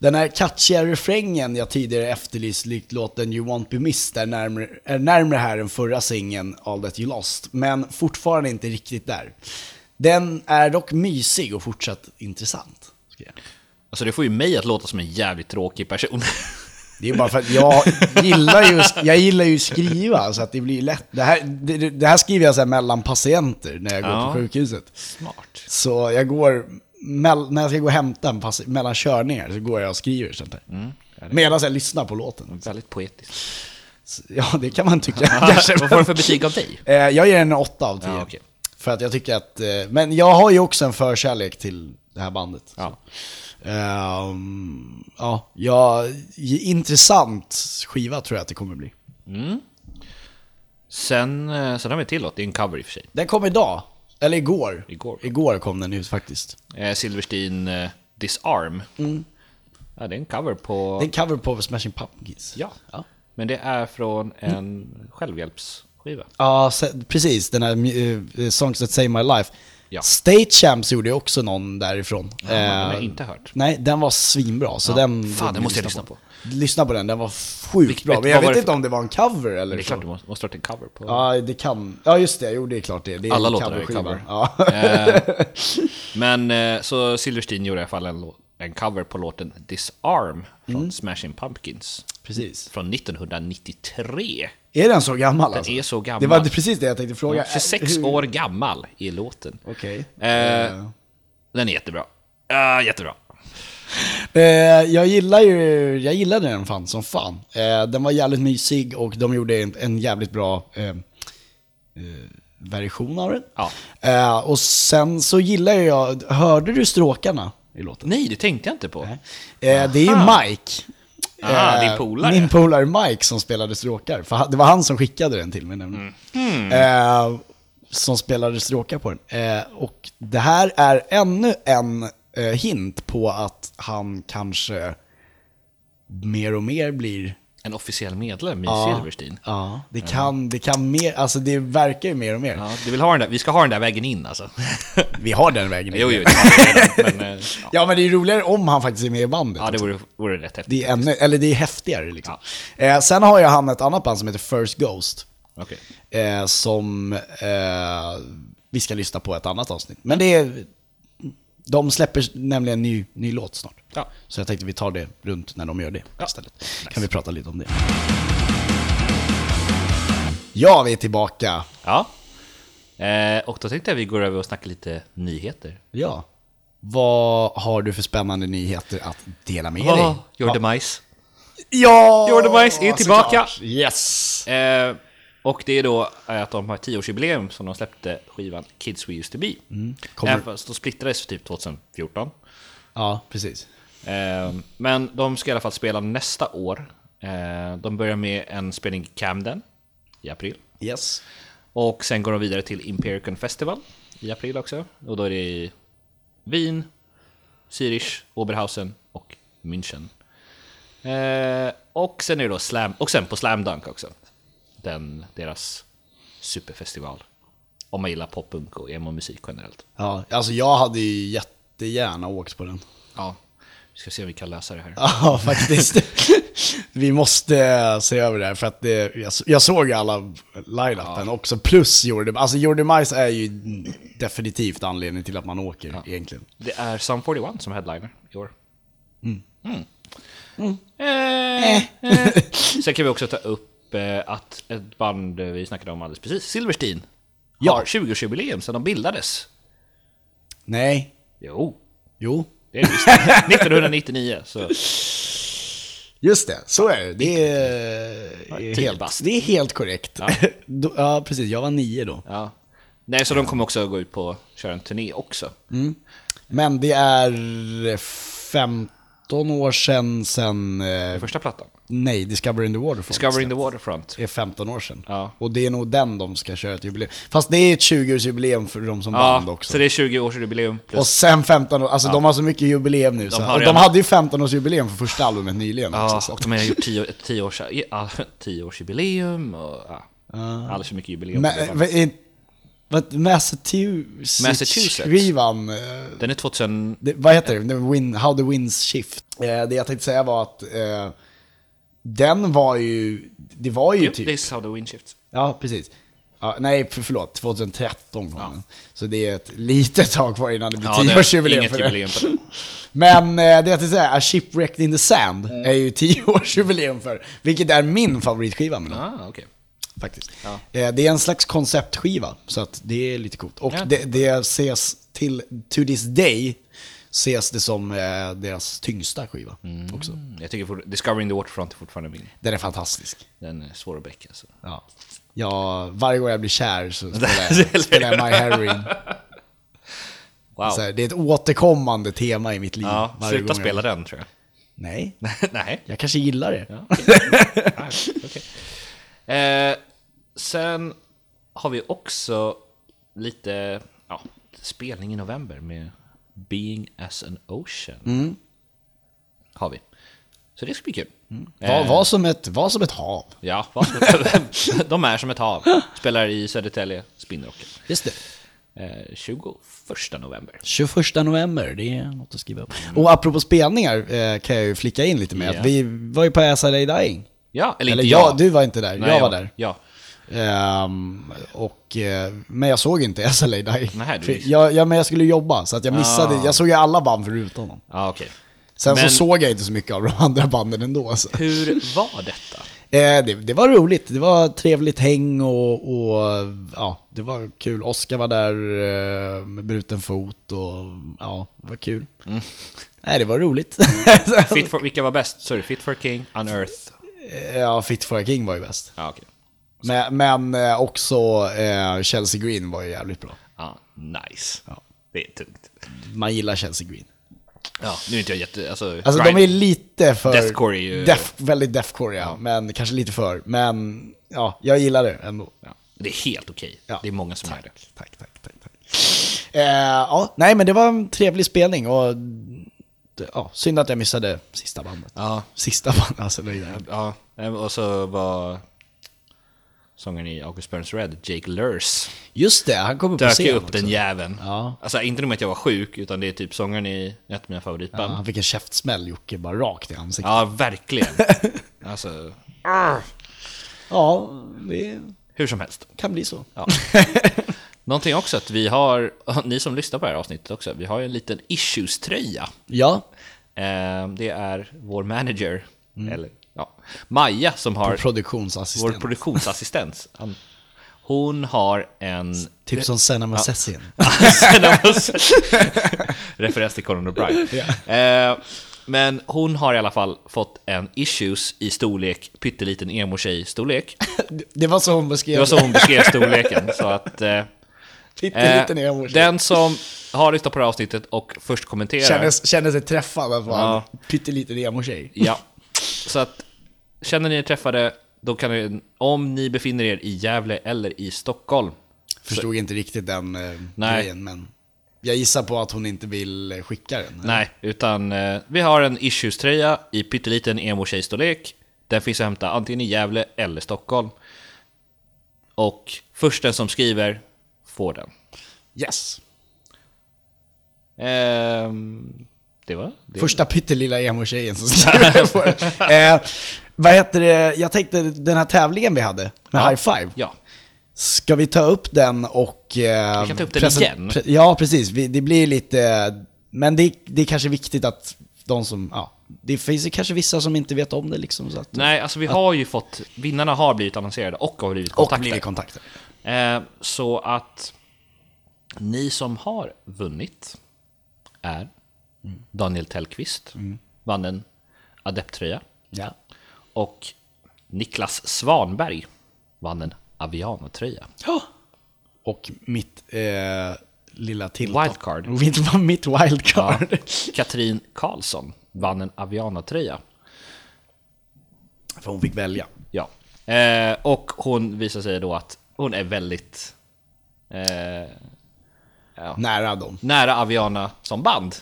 Speaker 3: Den här catchiga refrängen jag tidigare efterlyst, likt låten You Won't Be Missed, är närmre, är närmre här än förra singeln All That You Lost, men fortfarande inte riktigt där.
Speaker 5: Den är dock mysig och fortsatt intressant. ska jag.
Speaker 4: Alltså det får ju mig att låta som en jävligt tråkig person.
Speaker 5: Det är bara för att jag gillar ju, jag gillar ju skriva, så att det blir lätt. Det här, det, det här skriver jag så här mellan patienter när jag går
Speaker 4: Ja.
Speaker 5: på sjukhuset.
Speaker 4: Smart.
Speaker 5: Så jag går, mell- när jag ska gå och hämta en pass, mellan körningar så går jag och skriver sånt där.
Speaker 4: Mm,
Speaker 5: Medan jag lyssnar på låten.
Speaker 4: Väldigt poetiskt.
Speaker 5: Så, ja, det kan man tycka kanske.
Speaker 4: Vad får den för betyg av dig?
Speaker 5: Eh, Jag ger den en åtta av tio.
Speaker 4: Ja, okej.
Speaker 5: För att jag tycker att, eh, men jag har ju också en förkärlek till det här bandet.
Speaker 4: Ja.
Speaker 5: Ehm, ja, ja, intressant skiva tror jag att det kommer bli.
Speaker 4: Sen, eh, sen har vi en till låt, det är en cover i och för sig.
Speaker 5: Den kom idag, eller igår.
Speaker 4: Igår.
Speaker 5: Igår kom den ut faktiskt.
Speaker 4: Eh, Silverstein eh, Disarm. Ja, det är en cover på...
Speaker 5: Mm. Det är en cover på Smashing Pumpkins.
Speaker 4: Ja. Men det är från en självhjälpsskiva.
Speaker 5: Ja, se- precis. Den här mu- eh, Songs That Save My Life.
Speaker 4: Ja.
Speaker 5: State Champs gjorde ju också någon därifrån. Ja,
Speaker 4: den har jag inte hört.
Speaker 5: Nej, den var svinbra. Så den...
Speaker 4: Fan, den måste jag lyssna
Speaker 5: Lyssna på den, den var sjukt
Speaker 4: Vilket-
Speaker 5: bra.
Speaker 4: vet-
Speaker 5: Men jag
Speaker 4: vad var
Speaker 5: vet
Speaker 4: det
Speaker 5: inte
Speaker 4: för-
Speaker 5: om det var en cover eller
Speaker 4: Det är
Speaker 5: så.
Speaker 4: klart du måste, måste ha en cover på...
Speaker 5: Ja, det kan... Ja, just det. Jo, det är klart det. det är
Speaker 4: Alla
Speaker 5: en
Speaker 4: låtar är
Speaker 5: coverskiva.
Speaker 4: cover.
Speaker 5: Ja.
Speaker 4: Eh, men eh, så Silverstein gjorde i alla fall en, lå- en cover på låten Disarm från
Speaker 5: Mm.
Speaker 4: Smashing Pumpkins.
Speaker 5: Precis.
Speaker 4: Från 1993.
Speaker 5: Är den så gammal alltså?
Speaker 4: är så gammal.
Speaker 5: Det var precis det jag tänkte fråga. Eh,
Speaker 4: 26
Speaker 5: Hur-
Speaker 4: år gammal är låten.
Speaker 5: Okej.
Speaker 4: Eh, den är jättebra. Eh, jättebra.
Speaker 5: Eh, jag gillar ju, jag gillade den fan som fan. Eh, den var jävligt mysig och de gjorde en, en jävligt bra eh, eh, version av den.
Speaker 4: Ja.
Speaker 5: Eh, och sen så gillar jag, hörde du stråkarna i låten?
Speaker 4: Nej, det tänkte jag inte på.
Speaker 5: Eh, det är Mike.
Speaker 4: Ah,
Speaker 5: Eh,
Speaker 4: din polare.
Speaker 5: Min polare Mike som spelade stråkar. För han- det var han som skickade den till mig nämligen.
Speaker 4: Mm.
Speaker 5: Eh, som spelade stråkar på den. Eh, och det här är ännu en eh, hint på att han kanske mer och mer blir...
Speaker 4: En officiell medlem i Silverstein.
Speaker 5: Ja, det kan, det kan mer, alltså det verkar ju mer och mer.
Speaker 4: Ja, du vill ha den där, vi ska ha den där vägen in alltså.
Speaker 5: Vi har den vägen.
Speaker 4: jo, jo. det har vi, Men, eh, ja.
Speaker 5: Ja, men det är ju roligare om han faktiskt är med i bandet.
Speaker 4: ja, det vore, vore rätt häftigt.
Speaker 5: Det är, ännu, eller det är häftigare liksom. Eh, sen har jag han ett annat band som heter First Ghost.
Speaker 4: Okej.
Speaker 5: eh, som eh, vi ska lyssna på ett annat avsnitt. Men det är, de släpper nämligen en ny, ny låt snart.
Speaker 4: Ja.
Speaker 5: Så jag tänkte vi tar det runt när de gör det istället. Kan vi prata lite om det. Ja, vi är tillbaka.
Speaker 4: Ja. Eh, och då tänkte jag vi går över och snackar lite nyheter.
Speaker 5: Ja. Vad har du för spännande nyheter att dela med dig?
Speaker 4: Oh, your demise.
Speaker 5: Ja!
Speaker 4: Jordan Weiss är tillbaka.
Speaker 5: såklart. Yes!
Speaker 4: Eh, och det är då att de har 10-årsjubileum som de släppte skivan Kids We Used To Be. Mm.
Speaker 5: Kommer-
Speaker 4: fast de splittrades typ 2014.
Speaker 5: Ja, precis.
Speaker 4: Eh, men de ska i alla fall spela nästa år. Eh, de börjar med en spelning i Camden i april.
Speaker 5: Yes.
Speaker 4: Och sen går de vidare till Empiricon Festival i april också. Och då är det i Wien, Zürich, Oberhausen och München. Eh, och sen är det då Slam, och sen på Slam Dunk också. Den, deras superfestival. Om man gillar poppunk och emo-musik generellt.
Speaker 5: Ja, alltså jag hade ju jättegärna åkt på den.
Speaker 4: Ja. Vi ska se om vi kan lösa det här.
Speaker 5: Ja, faktiskt. Vi måste eh, se över det här, för att det, jag, jag såg ju alla line-upen också, plus Jordi. Alltså Jordi Mice är ju definitivt anledningen till att man åker egentligen.
Speaker 4: Det är Sum 41 som headliner i år.
Speaker 5: Mm.
Speaker 4: Mm. Eh, eh. Sen kan vi också ta upp eh, att ett band eh, vi snackade om alldeles precis, Silverstein,
Speaker 5: Ja.
Speaker 4: har 20-årsjubileum sedan de bildades.
Speaker 5: Nej,
Speaker 4: Jo,
Speaker 5: jo,
Speaker 4: det är det visst. 1999. Så.
Speaker 5: just det, så är det. Det är, eh,
Speaker 4: tio
Speaker 5: helt,
Speaker 4: bast.
Speaker 5: det är helt korrekt. Då- Ja, precis. Jag var nio då.
Speaker 4: Ja. Nej, så de kommer också gå ut på köra en turné också.
Speaker 5: Men det är 15 år sedan, sen, eh,
Speaker 4: Första plattan,
Speaker 5: nej, Discovering the Waterfall.
Speaker 4: Discovering the Waterfront.
Speaker 5: är 15 år sedan.
Speaker 4: Ja.
Speaker 5: Och det är nog den de ska köra ett jubileum. Fast det är ett 20-årsjubileum för dem som band
Speaker 4: Ja,
Speaker 5: också.
Speaker 4: så det är 20-årsjubileum plus
Speaker 5: Och sen 15 år, alltså de har så mycket jubileum nu. så.
Speaker 4: har
Speaker 5: och de
Speaker 4: redan-
Speaker 5: hade ju 15-årsjubileum för första albumet nyligen.
Speaker 4: Ja,
Speaker 5: också, så.
Speaker 4: och de har gjort tio, ett tioårs, ja, tioårsjubileum och ja. alldeles för mycket jubileum.
Speaker 5: Men, eh, vad är- vad- Massachusetts-
Speaker 4: Massachusetts.
Speaker 5: skivan, eh,
Speaker 4: Den är 2000...
Speaker 5: det- vad heter det? The Win, How the Winds Shift. Eh, Det jag tänkte säga var att eh, den var ju, det var ju
Speaker 4: Jo,
Speaker 5: typ
Speaker 4: Det är South of Windshift.
Speaker 5: Ja, precis. Ja, nej, för, förlåt. 2013 kom den. Så det är ett litet tag kvar innan det blir
Speaker 4: det är
Speaker 5: 10-årsjubileum
Speaker 4: inget
Speaker 5: för det.
Speaker 4: jubileum för det.
Speaker 5: Men eh, det jag tänkte säga, A Shipwrecked in the Sand är ju 10-årsjubileum för. Vilket är min favoritskiva med dem,
Speaker 4: Ah, okej.
Speaker 5: faktiskt. Eh, det är en slags konceptskiva, så att det är lite coolt. Och
Speaker 4: Ja.
Speaker 5: det, det ses till, to this day, ses det som eh, deras tyngsta skiva också.
Speaker 4: Mm, Jag tycker fort- Discovering the Waterfront är fortfarande min.
Speaker 5: Den är fantastisk.
Speaker 4: Den är svår att alltså. bäcka. Så.
Speaker 5: Ja. Ja, varje gång jag blir kär så spelar jag, spelar jag My Heroin.
Speaker 4: Wow.
Speaker 5: Så här, det är ett återkommande tema i mitt liv.
Speaker 4: ja,
Speaker 5: varje
Speaker 4: sluta
Speaker 5: gång jag-
Speaker 4: spela den tror jag.
Speaker 5: Nej,
Speaker 4: Nej.
Speaker 5: jag kanske gillar det.
Speaker 4: Eh, sen har vi också lite ja, spelning i november med Being as an Ocean.
Speaker 5: Mm.
Speaker 4: Har vi. Så det ska bli kul.
Speaker 5: Var,
Speaker 4: Eh.
Speaker 5: var, som ett, var som ett hav.
Speaker 4: Ja, va? de är som ett hav. Spelar i Södertälje, Spinrocken.
Speaker 5: Just det.
Speaker 4: Eh, 21 november.
Speaker 5: 21 november, det är något att skriva upp. Mm. Och apropå spelningar eh, kan jag ju flicka in lite med
Speaker 4: Ja.
Speaker 5: att vi var ju på SLA Dying.
Speaker 4: Ja, eller,
Speaker 5: Eller
Speaker 4: inte
Speaker 5: jag,
Speaker 4: jag.
Speaker 5: du var inte där,
Speaker 4: Nej,
Speaker 5: jag var där.
Speaker 4: Ja,
Speaker 5: Ehm, och, eh, men jag såg inte SLA Dying.
Speaker 4: Nej, du
Speaker 5: För
Speaker 4: missade.
Speaker 5: jag, jag, men jag skulle jobba, så att jag missade. Jag såg ju alla band förutom honom.
Speaker 4: ja okej.
Speaker 5: Sen
Speaker 4: Men-
Speaker 5: så såg jag inte så mycket av de andra banden ändå. Så.
Speaker 4: Hur var detta?
Speaker 5: Eh, det, det var roligt, det var trevligt häng och, och ja, det var kul. Oskar var där eh, med bruten fot och ja, det var kul. Nej, det var roligt.
Speaker 4: Mm. Fit for, vilka var bäst? Sorry, Fit for King, Unearth.
Speaker 5: ja, Fit for a King var ju bäst.
Speaker 4: Ja, okej.
Speaker 5: Men, men eh, också eh, Chelsea Green var ju jävligt bra.
Speaker 4: Ja, nice. Det är tungt.
Speaker 5: Man gillar Chelsea Green.
Speaker 4: Ja, nu är inte jag jätte... Alltså,
Speaker 5: Alltså
Speaker 4: grind-
Speaker 5: de är lite för...
Speaker 4: Deathcore är ju-
Speaker 5: Death, väldigt deathcore ja, men kanske lite för. Men ja, jag gillar det ändå.
Speaker 4: ja, det är helt okej.
Speaker 5: Ja.
Speaker 4: Det är många som är det.
Speaker 5: Tack, tack, tack. tack. Eh, ja, nej, men det var en trevlig spelning och det- ja, synd att jag missade sista bandet.
Speaker 4: Ja.
Speaker 5: Sista bandet, alltså det är det.
Speaker 4: Ja, eh, och så var sångaren i August Burns Red, Jake Lurs,
Speaker 5: Just det, han kom upp på
Speaker 4: dök ju
Speaker 5: scen
Speaker 4: upp
Speaker 5: också.
Speaker 4: den jäveln.
Speaker 5: Ja.
Speaker 4: Alltså inte nog med att jag var sjuk, utan det är typ sångaren i ett av mina
Speaker 5: Ja,
Speaker 4: favoritband.
Speaker 5: han fick en käftsmäll, Jocke, bara rakt i ansiktet.
Speaker 4: Ja, verkligen. alltså,
Speaker 5: Ja, det
Speaker 4: hur som helst.
Speaker 5: kan bli så.
Speaker 4: Ja. Någonting också att vi har, ni som lyssnar på det här avsnittet också, vi har ju en liten issues-tröja.
Speaker 5: Ja,
Speaker 4: Eh, Det är vår manager, eller ja, Maja som har Mm. vår
Speaker 5: produktionsassistent.
Speaker 4: produktionsassistent. Han- Hon har en...
Speaker 5: typ som Senna Sessin.
Speaker 4: Referens till Conan O'Brien. Eh, men hon har i alla fall fått en issues i storlek, pytteliten emo-tjej-storlek.
Speaker 5: Det var så hon
Speaker 4: Det
Speaker 5: beskrev
Speaker 4: var så hon beskrev storleken. Så att, eh,
Speaker 5: Pytteliten
Speaker 4: eh,
Speaker 5: emo-tjej.
Speaker 4: den som har lyssnat på det här avsnittet och först kommenterar.
Speaker 5: Kände, kände sig träffad av ja.
Speaker 4: Ja.
Speaker 5: pytteliten emo-tjej.
Speaker 4: Ja. Så att, känner ni er träffade, då kan ni, om ni befinner er i Gävle eller i Stockholm,
Speaker 5: Förstod inte riktigt den eh,
Speaker 4: Nej.
Speaker 5: grejen, men jag gissar på att hon inte vill eh, skicka den.
Speaker 4: Nej, utan eh, vi har en issues-tröja i pytteliten emo-tjejstorlek. Den finns att hämta antingen i Gävle eller Stockholm. Och först den som skriver får den.
Speaker 5: Yes.
Speaker 4: Ehm, det var det.
Speaker 5: Första pyttelilla emo-tjejen som skriver på det. Eh, vad heter det? Jag tänkte den här tävlingen vi hade med high five.
Speaker 4: Ja,
Speaker 5: Ska vi ta upp den och... Eh,
Speaker 4: Vi kan ta upp den
Speaker 5: presen-
Speaker 4: igen.
Speaker 5: pre- ja, precis. Vi, det blir lite... Men det, det är kanske viktigt att de som... Ja, det finns ju kanske vissa som inte vet om det liksom. Så att,
Speaker 4: nej alltså vi har ju fått, vinnarna har blivit annonserade och har blivit
Speaker 5: och
Speaker 4: kontaktade.
Speaker 5: blir kontakter.
Speaker 4: Ehm, så att ni som har vunnit är Daniel Tellqvist, vann en adepttröja.
Speaker 5: Ja.
Speaker 4: Och Niklas Svanberg vann en Aviano-tröja.
Speaker 5: Och mitt eh, lilla till...
Speaker 4: Wildcard.
Speaker 5: Mitt, mitt wildcard.
Speaker 4: Katrin Karlsson vann en Aviano-tröja.
Speaker 5: För hon fick välja.
Speaker 4: Ja. Eh, och hon visar sig då att hon är väldigt eh,
Speaker 5: Nära dem.
Speaker 4: nära Aviana som band.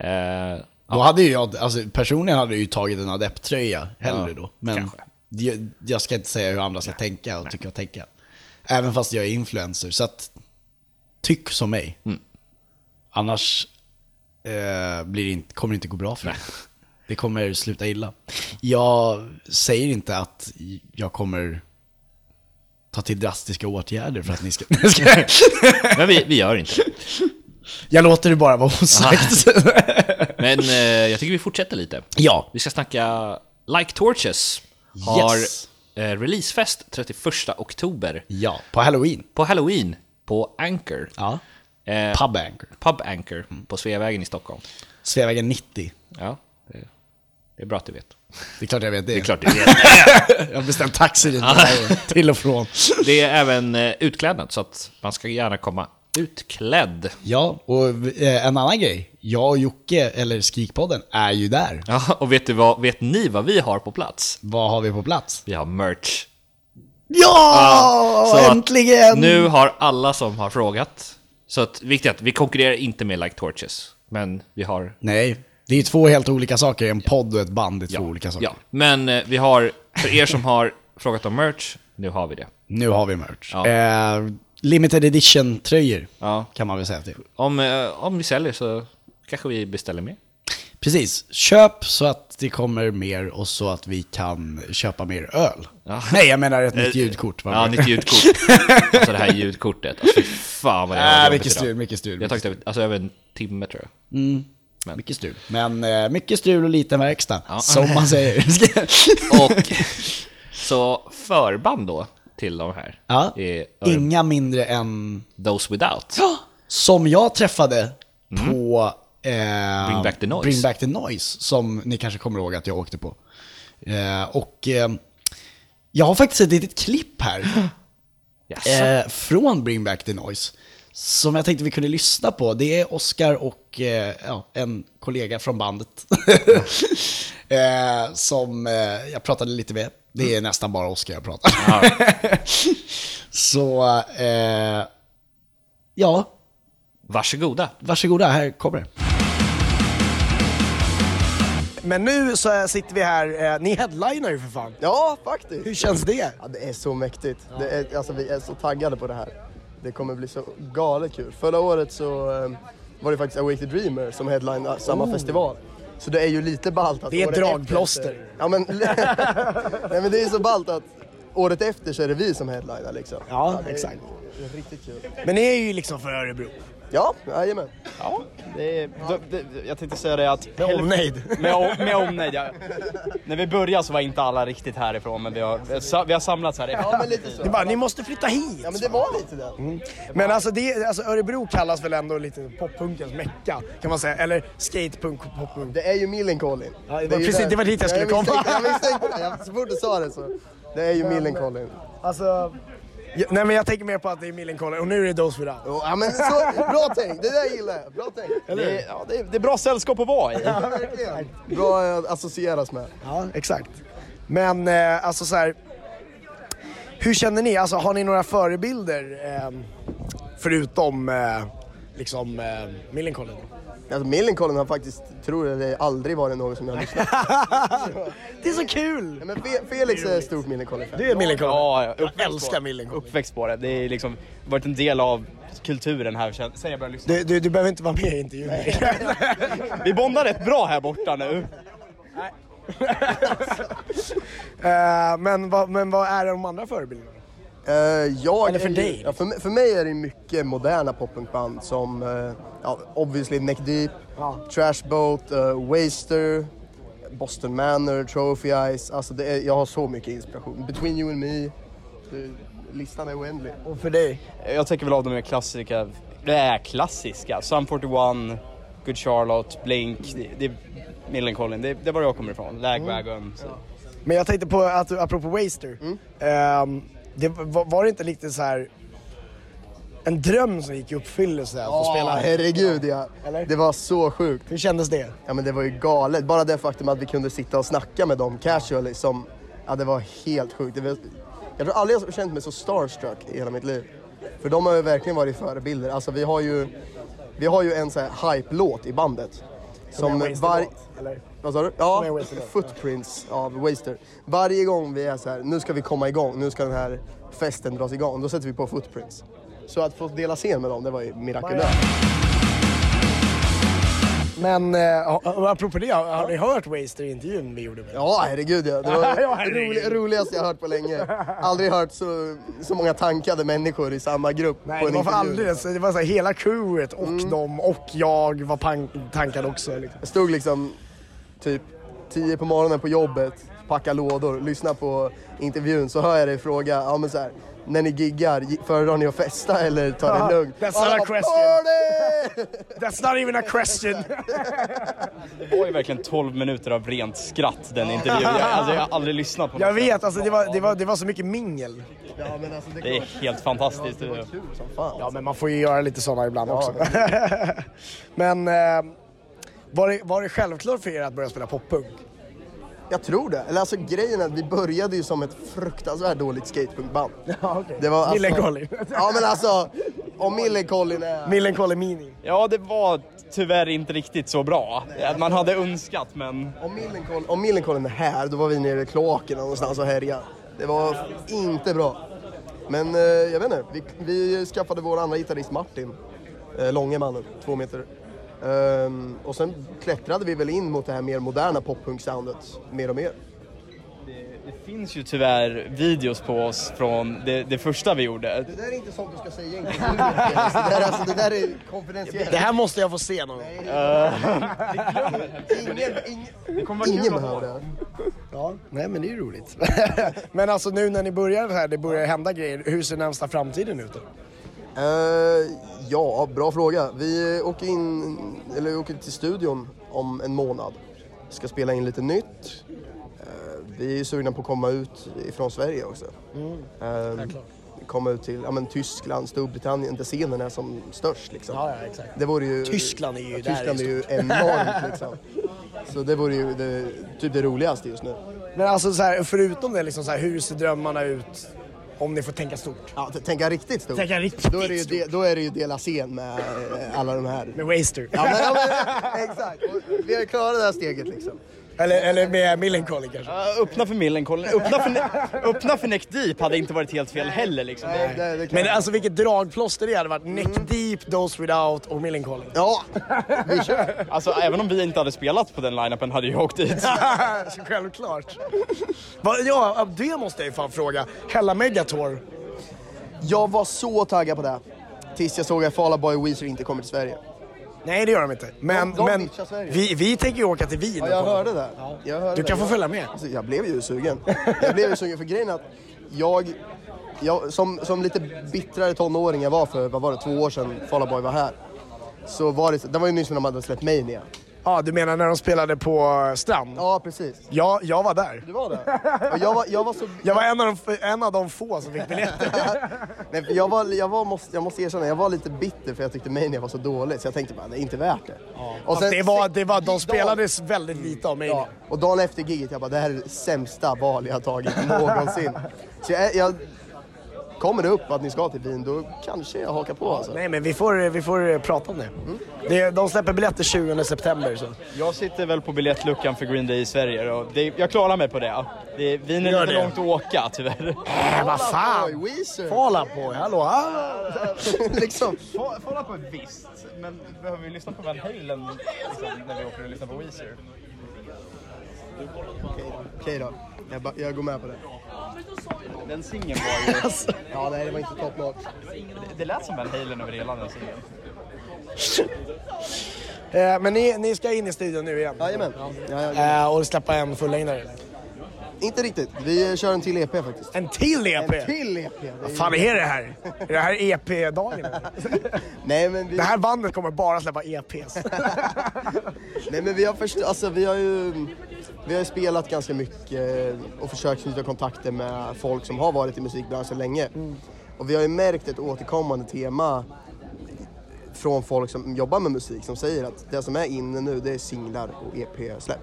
Speaker 4: Eh,
Speaker 5: Då hade ju jag, alltså personligen hade jag ju tagit en adepttröja hellre då. Men
Speaker 4: kanske.
Speaker 5: jag, jag ska inte säga hur andra ska tänka och tycka och tänka. Även fast jag är influencer, så att tyck som mig. Annars eh, blir det inte, kommer det inte gå bra för mig. Det kommer sluta illa. Jag säger inte att jag kommer ta till drastiska åtgärder för att ni ska...
Speaker 4: Men vi, vi gör inte det.
Speaker 5: Jag låter det bara vara osagt.
Speaker 4: Men eh, jag tycker vi fortsätter lite.
Speaker 5: ja.
Speaker 4: Vi ska snacka Like Torches. Har
Speaker 5: Yes.
Speaker 4: eh, releasefest 31 oktober.
Speaker 5: Ja, på halloween.
Speaker 4: På halloween på Anchor.
Speaker 5: Ja.
Speaker 4: Eh,
Speaker 5: Pub Anchor.
Speaker 4: Pub Anchor på Sveavägen i Stockholm.
Speaker 5: Sveavägen 90.
Speaker 4: Ja, det, det är bra att du vet.
Speaker 5: Det är klart jag vet det.
Speaker 4: Det är klart du vet.
Speaker 5: Jag har beställt taxi dit till och från.
Speaker 4: Det är även eh, utklädnad, så att man ska gärna komma utklädd.
Speaker 5: Ja, och eh, en annan grej. Jag och Jocke, eller Skrikpodden, är ju där.
Speaker 4: Ja, och vet, du vad, vet ni vad vi har på plats?
Speaker 5: Vad har vi på plats? Ah,
Speaker 4: Vi har merch.
Speaker 5: Ja!
Speaker 4: Så att
Speaker 5: äntligen!
Speaker 4: Nu har alla som har frågat. Så att, viktigt att vi konkurrerar inte med Like Torches, men vi har...
Speaker 5: Nej, det är ju två helt olika saker. En podd och ett band är två olika saker.
Speaker 4: Ja, men eh, vi har, för er som har frågat om merch, nu har vi det.
Speaker 5: Nu har vi merch.
Speaker 4: Ja.
Speaker 5: Eh, limited edition-tröjor
Speaker 4: Ja.
Speaker 5: kan man väl säga till.
Speaker 4: Om, eh, om vi säljer så kanske vi beställer mer.
Speaker 5: Precis, köp så att det kommer mer och så att vi kan köpa mer öl. Nej, jag menar ett nytt ljudkort. vad
Speaker 4: Eh, Ja,
Speaker 5: bra.
Speaker 4: nytt ljudkort. alltså det här ljudkortet. Alltså, fy fan vad det
Speaker 5: Äh,
Speaker 4: var jobbigt
Speaker 5: mycket
Speaker 4: idag.
Speaker 5: strul, mycket strul.
Speaker 4: Det har tagit över, alltså, över en timme tror jag.
Speaker 5: Mycket strul. Men eh, mycket strul och liten verkstad, som man säger.
Speaker 4: Och så förband då till de här
Speaker 5: ja.
Speaker 4: är Örn-
Speaker 5: Inga mindre än
Speaker 4: Those Without.
Speaker 5: som jag träffade på eh,
Speaker 4: Mm. Bring Back the Noise.
Speaker 5: Bring Back the Noise, som ni kanske kommer ihåg att jag åkte på. Eh, och eh, jag har faktiskt ett litet klipp här
Speaker 4: Yes.
Speaker 5: eh, från Bring Back the Noise som jag tänkte vi kunde lyssna på. Det är Oscar och eh, ja, en kollega från bandet eh, som eh, jag pratade lite med. Det är nästan bara Oscar jag pratar Så, eh, ja,
Speaker 4: Varsågoda.
Speaker 5: varsågoda, här kommer det.
Speaker 6: Men nu så eh, sitter vi här, eh, ni headlinar ju för fan.
Speaker 7: Ja, faktiskt.
Speaker 6: Hur känns det?
Speaker 7: Ja, det är så mäktigt. Det är, alltså, vi är så taggade på det här. Det kommer bli så galet kul. Förra året så eh, var det faktiskt Awake the Dreamer som headlinade samma festival. Så det är ju lite ballt att...
Speaker 6: Oh. Det är ett
Speaker 7: året efter-
Speaker 6: dragplåster.
Speaker 7: Ja, men, nej, men det är så ballt att året efter så är det vi som headlinar liksom.
Speaker 6: Ja,
Speaker 7: det är-
Speaker 6: exakt.
Speaker 7: Det är riktigt kul.
Speaker 6: Men ni är ju liksom för Örebro.
Speaker 7: Ja, jajamän.
Speaker 8: Ja, det är, då, det, jag tänkte säga det att...
Speaker 6: Med omnejd.
Speaker 8: Med, o- med omnejd, ja. När vi började så var inte alla riktigt härifrån, men vi har, sa- vi har samlats här
Speaker 7: Ja, men lite så.
Speaker 6: Det är bara, ni måste flytta hit.
Speaker 7: Ja, men det var lite det.
Speaker 6: Men alltså, det, alltså Örebro kallas väl ändå lite poppunkens mecka kan man säga. Eller skatepunk och poppunk.
Speaker 7: Det är ju Millencolin.
Speaker 6: Ja, det var
Speaker 7: är ju
Speaker 6: precis-
Speaker 7: där-
Speaker 6: det var dit jag skulle
Speaker 7: visste-
Speaker 6: komma.
Speaker 7: Jag misstänkte det. Jag- Så fort du sa det så. Det är ju Millencolin.
Speaker 6: Alltså... Ja, nej men jag tänker mer på att det är Millencolin och nu är det Dose Without.
Speaker 7: Jo, Ja, men så, bra tänk, det där gillar jag. Bra tänk.
Speaker 8: Det, är- ja, det, är, det är bra sällskap att vara i.
Speaker 7: Ja, verkligen. Bra att associeras med.
Speaker 6: Ja, exakt. Men eh, alltså så här. Hur känner ni? Alltså, har ni några förebilder eh, förutom eh, liksom eh, Millencolin?
Speaker 7: Alltså, Millencolin har faktiskt, tror jag, det aldrig varit någon som jag har lyssnat på.
Speaker 6: Det är så kul!
Speaker 7: Nej, Men Fe- Felix är stort Millencolin-fan.
Speaker 6: Du är Millencolin?
Speaker 8: Ja, ja,
Speaker 6: Jag
Speaker 8: uppväxt
Speaker 6: älskar
Speaker 8: på-
Speaker 6: Millencolin.
Speaker 8: Uppväxt på det. Det är liksom varit en del av kulturen här. känns- Sen jag började lyssna.
Speaker 6: Du, du, du behöver inte vara med i intervjun.
Speaker 8: Vi bondar rätt bra här borta nu.
Speaker 6: Eh, men, vad, men vad är de andra förebilderna?
Speaker 7: Eh, jag
Speaker 6: Eller för
Speaker 7: är ju-
Speaker 6: dig,
Speaker 7: Ja, för, mig- för mig är det mycket moderna poppunkband som eh, ja, obviously Neck Deep,
Speaker 6: Ja.
Speaker 7: Trash Boat, eh, Waster, Boston Manor, Trophy Eyes. Alltså det är, jag har så mycket inspiration. Between You and Me. Det, listan är oändlig.
Speaker 6: Och för dig?
Speaker 8: Jag tänker väl av de mer klassiska, det är klassiska. Sum 41, Good Charlotte, Blink, det, det är Millencolin. Det, det är var jag kommer ifrån. Lagwagon.
Speaker 6: Mm.
Speaker 8: Så.
Speaker 6: Men jag tänkte på, att, du- apropå Waster. Ehm, det, var, var det inte lite så här en dröm som gick i uppfyllelse att få
Speaker 7: Ja,
Speaker 6: spela här?
Speaker 7: herregud ja.
Speaker 6: Eller?
Speaker 7: Det var så sjukt.
Speaker 6: Hur kändes det?
Speaker 7: Ja men det var ju galet. Bara det faktum att vi kunde sitta och snacka med dem casually som, ja det var helt sjukt. Det var, jag tror aldrig jag har känt mig så starstruck i hela mitt liv. För de har ju verkligen varit förebilder. Alltså vi har ju, vi har ju en sån här hype-låt i bandet.
Speaker 6: en
Speaker 7: Som
Speaker 6: Waster-låt,
Speaker 7: varje...
Speaker 6: eller?
Speaker 7: Vad sa du?
Speaker 6: Som en
Speaker 7: Ja,
Speaker 6: Waster-låt, ja.
Speaker 7: Footprints av Waster. Varje gång vi är så här, nu ska vi komma igång, nu ska den här festen dras igång, då sätter vi på Footprints. Så att få dela scen med dem, det var ju mirakulöst.
Speaker 6: Men eh, a- apropå det, har har ni hört Waster-intervjun vi gjorde med
Speaker 7: Ja, herregud ja. Det var
Speaker 6: Ja, herregud.
Speaker 7: det roligaste jag hört på länge. Aldrig hört så, så många tankade människor i samma grupp
Speaker 6: Nej,
Speaker 7: på
Speaker 6: det
Speaker 7: en
Speaker 6: var för
Speaker 7: intervju.
Speaker 6: alldeles. Det var så här, hela crewet och dem och jag var pan- tankad också. Liksom.
Speaker 7: Jag stod liksom typ 10 på morgonen på jobbet, packa lådor, lyssna på intervjun så hör jag dig fråga, ja men så här, när ni giggar, gi- föredrar ni att festa eller ta det lugnt?
Speaker 6: That's
Speaker 7: Och alla
Speaker 6: not a
Speaker 7: bara,
Speaker 6: question.
Speaker 7: "Party!"
Speaker 6: That's not even a question!
Speaker 8: Det var ju verkligen 12 minuter av rent skratt den intervjun. Jag, alltså, jag har aldrig lyssnat på
Speaker 6: Jag
Speaker 8: något
Speaker 6: vet,
Speaker 8: sätt.
Speaker 6: alltså det var, det var, det var så mycket mingel.
Speaker 7: Ja, men alltså, det,
Speaker 8: Det är helt fantastiskt.
Speaker 7: Det var kul som fan.
Speaker 6: Ja, men man får ju göra lite sådana ibland också. men eh, var, det, var det självklart för er att börja spela poppunk?
Speaker 7: Jag tror det. Eller alltså grejen är att vi började ju som ett fruktansvärt dåligt skatepunkband.
Speaker 6: Ja, okej.
Speaker 7: Det var
Speaker 6: Millencolin.
Speaker 7: Ja men alltså, om Millencolin är...
Speaker 6: Millencolin Meaning.
Speaker 8: Ja, det var tyvärr inte riktigt så bra. Man hade önskat, men...
Speaker 7: Om Millencolin, om Millencolin är här, då var vi nere i kloakerna någonstans och härjade. Det var inte bra. Men eh, jag vet inte, vi, vi skaffade vår andra gitarrist Martin, eh, långe mannen, två meter. Ehm, och sen klättrade vi väl in mot det här mer moderna poppunk-soundet, mer och mer.
Speaker 8: Det finns ju tyvärr videos på oss från det, det första vi gjorde.
Speaker 7: Det där är inte sånt du ska säga egentligen. Det där, alltså, det där är konfidentiellt.
Speaker 6: Det här måste jag få se någon gång.
Speaker 7: Ingen, ingen, ingen behöver det. här.
Speaker 6: Ja, nej men det är ju roligt. men alltså nu när ni börjar här, det börjar hända grejer. Hur ser närmsta framtiden ut då?
Speaker 7: Eh, ja, bra fråga. Vi åker in, eller åker till studion om en månad. Ska spela in lite nytt. Eh, vi är ju sugna på att komma ut ifrån Sverige också.
Speaker 6: Mm.
Speaker 7: Eh, komma ut till ja, men, Tyskland, Storbritannien där scenen är som störst. Liksom.
Speaker 6: Ja, ja, exakt.
Speaker 7: Det vore ju,
Speaker 6: Tyskland är ju där
Speaker 7: Tyskland
Speaker 6: i
Speaker 7: är ju enormt liksom. Så det vore ju det, typ det roligaste just nu.
Speaker 6: Men alltså så här, förutom det, liksom så här, hur ser drömmarna ut om ni får tänka stort?
Speaker 7: Ja, t- tänka riktigt stort.
Speaker 6: Tänka riktigt
Speaker 7: då är det ju,
Speaker 6: stort.
Speaker 7: de, då är det ju dela scen med eh, alla de här.
Speaker 6: Med Waster?
Speaker 7: Ja, men, ja, men, exakt. Och Vi har klarat det här steget liksom.
Speaker 6: Eller, eller med Millencolin kanske?
Speaker 8: Ja, Eh, öppna för Millencolin. Öppna för, Ne- öppna för Neck Deep hade inte varit helt fel heller. Liksom.
Speaker 7: Det, det är klart.
Speaker 6: Men alltså vilket dragplåster det hade varit. Neck Deep, Dose Without och Millencolin.
Speaker 7: Ja, vi kör.
Speaker 8: Alltså, även om vi inte hade spelat på den line-upen hade jag åkt dit.
Speaker 6: Så Självklart. Va, ja, det måste jag ju fan fråga. Hella Megator.
Speaker 7: Jag var så taggad på det. här. Tills jag såg att Fall Out Boy och Weezer inte kommer till Sverige.
Speaker 6: Nej, det gör de inte. Men,
Speaker 7: De- de
Speaker 6: men
Speaker 7: ditchar Sverige.
Speaker 6: vi, vi tänker ju åka till Wien.
Speaker 7: Ja,
Speaker 6: och
Speaker 7: jag
Speaker 6: kolla.
Speaker 7: hörde det. Jag hörde
Speaker 6: Du
Speaker 7: det.
Speaker 6: kan få
Speaker 7: Jag-
Speaker 6: följa med.
Speaker 7: Alltså, jag blev ju sugen. Jag blev ju sugen för grejen är att jag, jag som, som lite bittrare tonåring jag var för, vad var det, två år sedan Fall Out Boy var här. Så var det, det var ju nyss när de hade släppt Mania.
Speaker 6: Ja, du menar när de spelade på eh, Strand?
Speaker 7: Ja, precis.
Speaker 6: Ja, jag var där.
Speaker 7: Du var det? Och jag var, jag var så...
Speaker 6: Jag var en av de, en av de få som fick biljetter.
Speaker 7: Nej, för jag, var, jag, var, måste, jag måste erkänna, jag var lite bitter för jag tyckte Mania var så dålig så jag tänkte bara, det är inte värt det.
Speaker 6: Och
Speaker 7: sen-
Speaker 6: det var, det var,
Speaker 7: dagen-
Speaker 6: de spelades väldigt lite av mig.
Speaker 7: Ja, och dagen efter giget jag bara, det här är det sämsta val jag har tagit någonsin. så jag, jag, kommer det upp att ni ska till Wien, då kanske jag hakar på alltså.
Speaker 6: Nej, men vi får, vi får prata om det.
Speaker 7: Mm.
Speaker 6: det. De släpper biljetter 20 september. Så.
Speaker 8: Jag sitter väl på biljettluckan för Green Day i Sverige och det, jag klarar mig på det. det Wien är
Speaker 6: Gör
Speaker 8: lite
Speaker 6: det.
Speaker 8: långt att åka tyvärr.
Speaker 6: Äh, vad fan!
Speaker 7: Oj, Weezer!
Speaker 6: Fala på, hallå! Ah.
Speaker 7: liksom.
Speaker 8: Falla på visst, men behöver vi lyssna på Van Halen liksom, när vi åker och lyssnar på Weezer?
Speaker 7: Okej, okej då, jag, ba, jag går med på det.
Speaker 8: Den singeln var ju...
Speaker 7: Ja, nej det var inte top notch.
Speaker 8: Det lät som Van Halen över hela den singeln.
Speaker 6: Eh, men ni, ni ska in i studion nu igen?
Speaker 7: Jajamän. Ja, ja, ja.
Speaker 6: Eh, och släppa en fullängdare? eller?
Speaker 7: Inte riktigt, vi kör en till EP faktiskt.
Speaker 6: En till EP?
Speaker 7: En till EP! Det är-
Speaker 6: E Vad fan är det här? Är det här EP-dagen eller?
Speaker 7: Nej men vi...
Speaker 6: Det här bandet kommer bara släppa E EPs.
Speaker 7: Nej men vi har, först, alltså, vi har ju vi har ju spelat ganska mycket och försökt knyta kontakter med folk som har varit i musikbranschen länge.
Speaker 6: Mm.
Speaker 7: Och vi har ju märkt ett återkommande tema från folk som jobbar med musik som säger att det som är inne nu det är singlar och EP-släpp.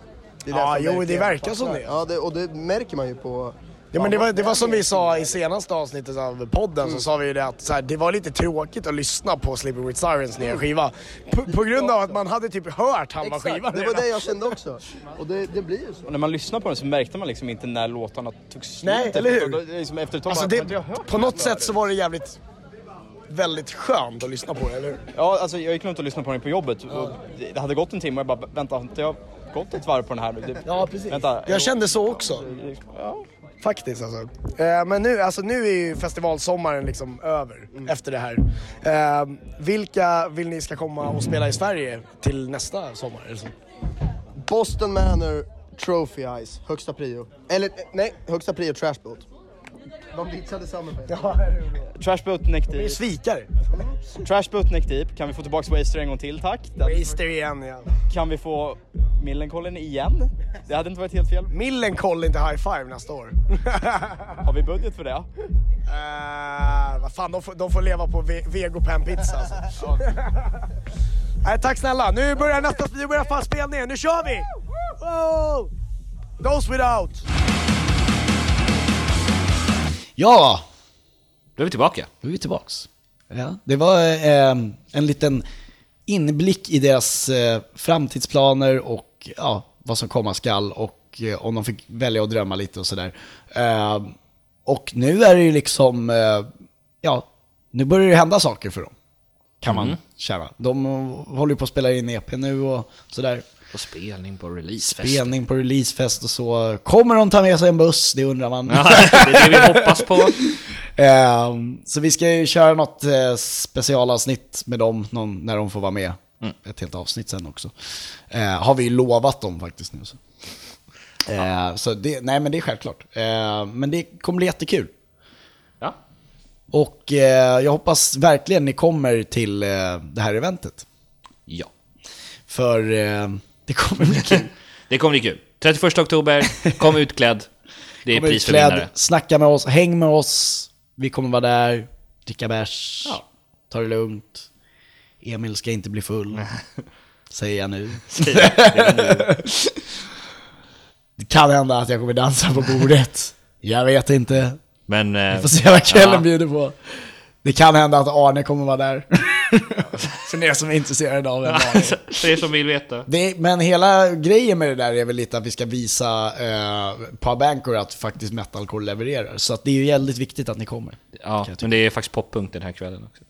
Speaker 7: Det är
Speaker 6: Ja,
Speaker 7: som
Speaker 6: jo, det
Speaker 7: verkligen
Speaker 6: verkar som
Speaker 7: fastnar.
Speaker 6: det.
Speaker 7: Ja, det, och det märker man ju på...
Speaker 6: Ja, men det, var, det var som vi sa i senaste avsnittet av podden,
Speaker 7: Mm.
Speaker 6: så sa vi ju det att så här, det var lite tråkigt att lyssna på Sleeping With Sirens nya skiva. På, på grund av att man hade typ hört halva skivan
Speaker 7: Exakt, det var
Speaker 6: redan.
Speaker 7: det jag kände också. Och det, det blir ju så.
Speaker 8: Och när man lyssnade på den så märkte man liksom inte när låtarna tog slut.
Speaker 6: Nej, eller hur?
Speaker 8: Och då- Liksom efter ett tag
Speaker 6: Alltså
Speaker 8: bara, "Men jag
Speaker 6: det,
Speaker 8: har hört
Speaker 6: på
Speaker 8: den
Speaker 6: något
Speaker 8: förut."
Speaker 6: sätt så var det jävligt väldigt skönt att lyssna på det, eller hur?
Speaker 8: Ja, alltså jag gick runt och lyssnade på den på jobbet. Och det det hade gått en timme och jag bara, vänta, har inte jag gått ett varv på den här nu? Det-
Speaker 6: Ja, precis.
Speaker 8: Vänta,
Speaker 6: jag kände så också.
Speaker 8: Ja.
Speaker 6: Faktiskt alltså. Eh, men nu, alltså, nu är ju festivalsommaren liksom över
Speaker 8: Mm.
Speaker 6: efter det här. Eh, vilka vill ni ska komma och spela i Sverige till nästa sommar? Eller så?
Speaker 7: Boston Manor Trophy Ice, högsta prio. Eller nej, högsta prio Trash Boat. De ditchade Summerfest.
Speaker 8: Trash Boat Neck
Speaker 6: Vi är
Speaker 8: Deep.
Speaker 6: svikare.
Speaker 8: Trash Boat Neck Deep. Kan vi få tillbaka Waster en gång till, tack? Den,
Speaker 6: Waster igen ja.
Speaker 8: kan vi få Millencolin igen? Det hade inte varit helt fel.
Speaker 6: Millencolin inte High Five nästa år.
Speaker 8: Har vi budget för det?
Speaker 6: Eh, vad fan, de får, de får leva på ve- vegopan-pizza alltså. Nej, tack snälla, nu börjar nästa, nu börjar fan spelningen, nu kör vi! Wow! Those without!
Speaker 3: Ja,
Speaker 4: Då är vi tillbaka.
Speaker 3: då är vi tillbaks. Ja, det var eh, en liten inblick i deras eh, framtidsplaner och ja, vad som komma skall och eh, om de fick välja att drömma lite och sådär. Eh, och nu är det ju liksom, eh, ja, nu börjar det hända saker för dem. Kan man känna. De håller ju på att spela in EP nu och sådär.
Speaker 4: På spelning, på releasefest.
Speaker 3: Spelning på releasefest och så. Kommer de ta med sig en buss? Det undrar man.
Speaker 4: Ja, det är det vi hoppas på.
Speaker 3: Ehm, så vi ska ju köra något eh, specialavsnitt med dem någon, när de får vara med.
Speaker 4: Mm.
Speaker 3: Ett helt avsnitt sen också. Eh, har vi ju lovat dem faktiskt nu. Så, Eh, så det, nej men det är självklart. Eh, men det kommer bli jättekul.
Speaker 4: Ja.
Speaker 3: Och eh, jag hoppas verkligen ni kommer till eh, det här eventet.
Speaker 4: ja.
Speaker 3: För eh, det kommer bli kul.
Speaker 4: Det kommer bli kul. 31 oktober, kom utklädd. Det är
Speaker 3: Kom
Speaker 4: pris för
Speaker 3: utklädd,
Speaker 4: vinnare.
Speaker 3: Snacka med oss, häng med oss. Vi kommer vara där, dricka bärs,
Speaker 4: Ja.
Speaker 3: ta det lugnt. Emil ska inte bli full, säger jag nu. det kan hända att jag kommer dansa på bordet. Jag vet inte.
Speaker 4: Men... Eh,
Speaker 3: Får se vad kvällen
Speaker 4: ja.
Speaker 3: bjuder på. Det kan hända att Arne kommer vara där. För er som är intresserade av en Arne.
Speaker 4: För er som vill veta.
Speaker 3: Det, men hela grejen med det där är väl lite att vi ska visa eh, Powerbankor att faktiskt metalcore levererar. Så att det är ju väldigt viktigt att ni kommer.
Speaker 4: Ja, men det är faktiskt poppunk den här kvällen också.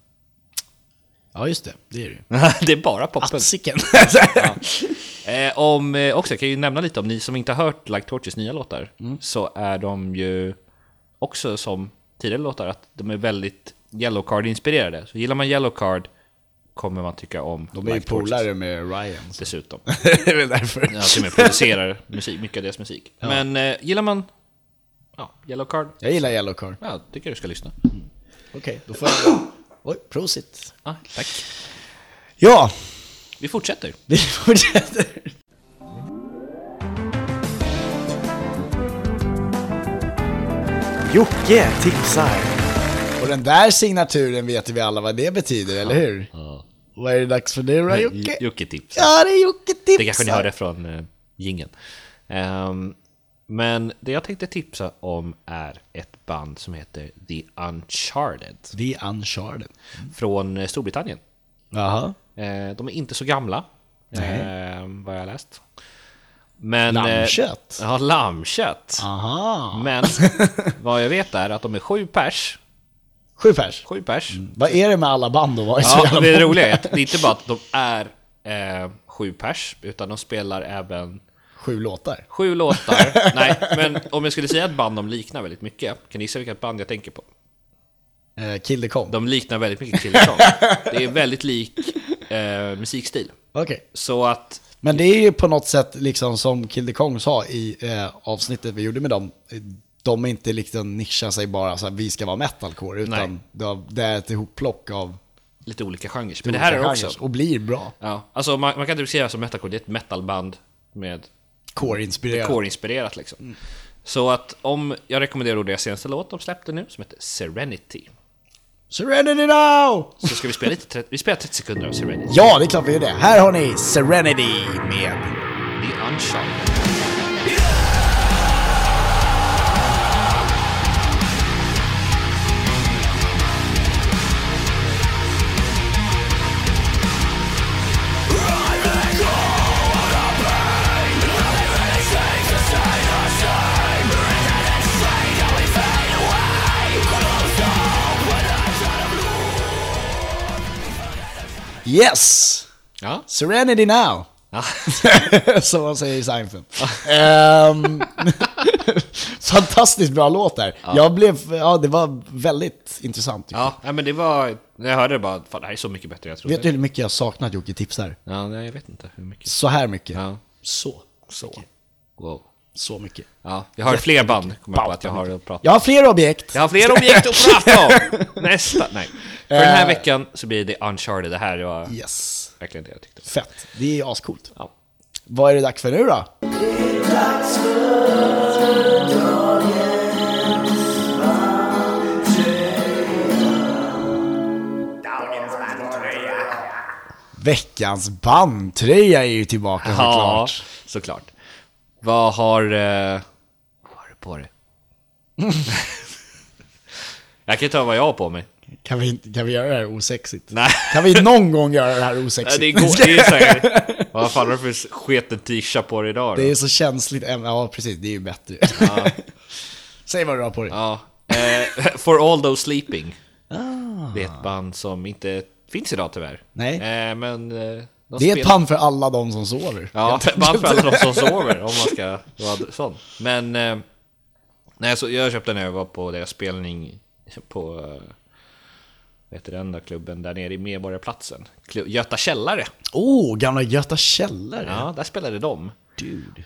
Speaker 3: Ja, just det. Det är det ju.
Speaker 4: det är bara poppunk.
Speaker 3: Sicken.
Speaker 4: Eh, om, eh, också, jag kan ju nämna lite om ni som inte har hört Like Torches nya låtar.
Speaker 3: Mm.
Speaker 4: Så är de ju också som tidigare låtar, att de är väldigt Yellowcard-inspirerade. Så gillar man Yellowcard kommer man tycka om
Speaker 3: De är ju
Speaker 4: Like Torches
Speaker 3: polare med Ryan. Så.
Speaker 4: Dessutom.
Speaker 3: det är väl därför.
Speaker 4: Jag till och med producerar musik, mycket av deras musik. Men eh, gillar man ja, Yellowcard,
Speaker 3: Jag gillar Yellowcar.
Speaker 4: ja, tycker jag du ska lyssna.
Speaker 3: Okej, då får jag... Oj, prosit.
Speaker 4: Ah, tack.
Speaker 3: Ja,
Speaker 4: Vi fortsätter.
Speaker 3: vi fortsätter.
Speaker 6: Jocke tipsar.
Speaker 3: Och den där signaturen vet vi alla vad det betyder, eller hur? Vad är det dags för nu då, Jocke?
Speaker 4: Jocke-tips.
Speaker 3: Ja, det är Jocke tipsar.
Speaker 4: Det kanske ni hörde från uh, gingen. Ehm, men det jag tänkte tipsa om är ett band som heter The Uncharted
Speaker 3: The Uncharted.
Speaker 4: från eh, Storbritannien.
Speaker 3: Jaha.
Speaker 4: Eh, de är inte så gamla,
Speaker 3: Nej.
Speaker 4: eh, vad jag har läst. Men, eh,
Speaker 3: Lammkött.
Speaker 4: ja, lammkött.
Speaker 3: Aha.
Speaker 4: Men vad jag vet är att de är sju pers.
Speaker 3: Sju pers.
Speaker 4: Sju pers.
Speaker 3: Vad är det med alla band och vad är Mm. så
Speaker 4: Ja,
Speaker 3: jävla
Speaker 4: det
Speaker 3: många?
Speaker 4: roliga är att det är inte bara att de är eh, sju pers, utan de spelar även
Speaker 3: Sju låtar.
Speaker 4: Sju låtar. Nej, men om jag skulle säga ett band de liknar väldigt mycket, kan ni gissa vilket band jag tänker på?
Speaker 3: Eh, Kill the Con.
Speaker 4: De liknar väldigt mycket Killer Song. Det är väldigt lik eh, musikstil.
Speaker 3: Okej.
Speaker 4: Så att,
Speaker 3: Men det är ju på något sätt liksom som Kill the Kong sa i eh, avsnittet vi gjorde med dem. De är inte liksom nischar sig bara så här, vi ska vara metalcore, utan
Speaker 4: Nej.
Speaker 3: det- det är ett ihopplock av
Speaker 4: lite olika genrer. Men det här
Speaker 3: olika
Speaker 4: är
Speaker 3: genres
Speaker 4: också...
Speaker 3: Och blir bra.
Speaker 4: Ja, alltså man, man kan inte beskriva det som metalcore, det är ett metalband med
Speaker 3: Core-inspirerat.
Speaker 4: core-inspirerat liksom. Så att om, jag rekommenderar då deras senaste låt de släppte nu, som heter Serenity.
Speaker 3: Serenity now!
Speaker 4: Så ska vi spela lite, tre- vi spelar 30 sekunder av Serenity.
Speaker 3: Ja, det är klart vi gör det. Här har ni Serenity med
Speaker 4: The Uncharted.
Speaker 3: Yes!
Speaker 4: Ja.
Speaker 3: Serenity now!
Speaker 4: ja.
Speaker 3: Som man säger i Seinfeld. Ehm, fantastiskt bra låt där. Jag blev, ja det var väldigt intressant. tycker
Speaker 4: Ja, nej, men det var... När jag hörde det bara, fan det här är så mycket bättre än jag
Speaker 3: jag.
Speaker 4: trodde.
Speaker 3: Vet du hur mycket jag saknat Jocke Tipsar?
Speaker 4: Ja, nej, jag vet inte hur mycket.
Speaker 3: Så här mycket.
Speaker 4: Ja,
Speaker 3: Så.
Speaker 4: så.
Speaker 3: mycket.
Speaker 4: Wow.
Speaker 3: Så mycket.
Speaker 4: Ja, jag har fler band, kommer jag på att jag har att prata
Speaker 3: Jag har fler objekt.
Speaker 4: Jag har fler objekt att prata om! Nästa, nej. För den här veckan så blir det Uncharted, det här var
Speaker 3: Yes.
Speaker 4: verkligen det jag tyckte.
Speaker 3: Fett. Det är ascoolt.
Speaker 4: Ja.
Speaker 3: Vad är det dags för nu då? Veckans bandtröja är ju tillbaka
Speaker 4: Ja,
Speaker 3: såklart.
Speaker 4: såklart. Vad har... Eh, vad har du på dig? jag kan ta vad jag har på mig.
Speaker 3: Kan vi, inte- kan vi göra det här osexigt?
Speaker 4: Nej.
Speaker 3: Kan vi någon gång göra det här
Speaker 4: Ja,
Speaker 3: osexigt?
Speaker 4: Det går, det är säkert. Vad fan har du för sketen t-shirt på dig idag då?
Speaker 3: Det är så känsligt ämne. Ja, precis. Det är ju bättre. Säg vad du har på dig.
Speaker 4: Ja. Eh, For All Those Sleeping. Det är ett band som inte finns idag tyvärr.
Speaker 3: Ah. Nej.
Speaker 4: Eh, men... Eh, de
Speaker 3: det är
Speaker 4: spelar-
Speaker 3: ett band för alla de som sover.
Speaker 4: Ja,
Speaker 3: helt enkelt.
Speaker 4: man för alla de som sover om man ska vara sån. Men... Eh, nej, så jag köpte den när jag var på deras spelning på... Eh, vad heter den då, klubben där nere i Medborgarplatsen? Klu- Göta källare!
Speaker 3: Åh, oh, gamla Göta källare.
Speaker 4: Ja, där spelade de.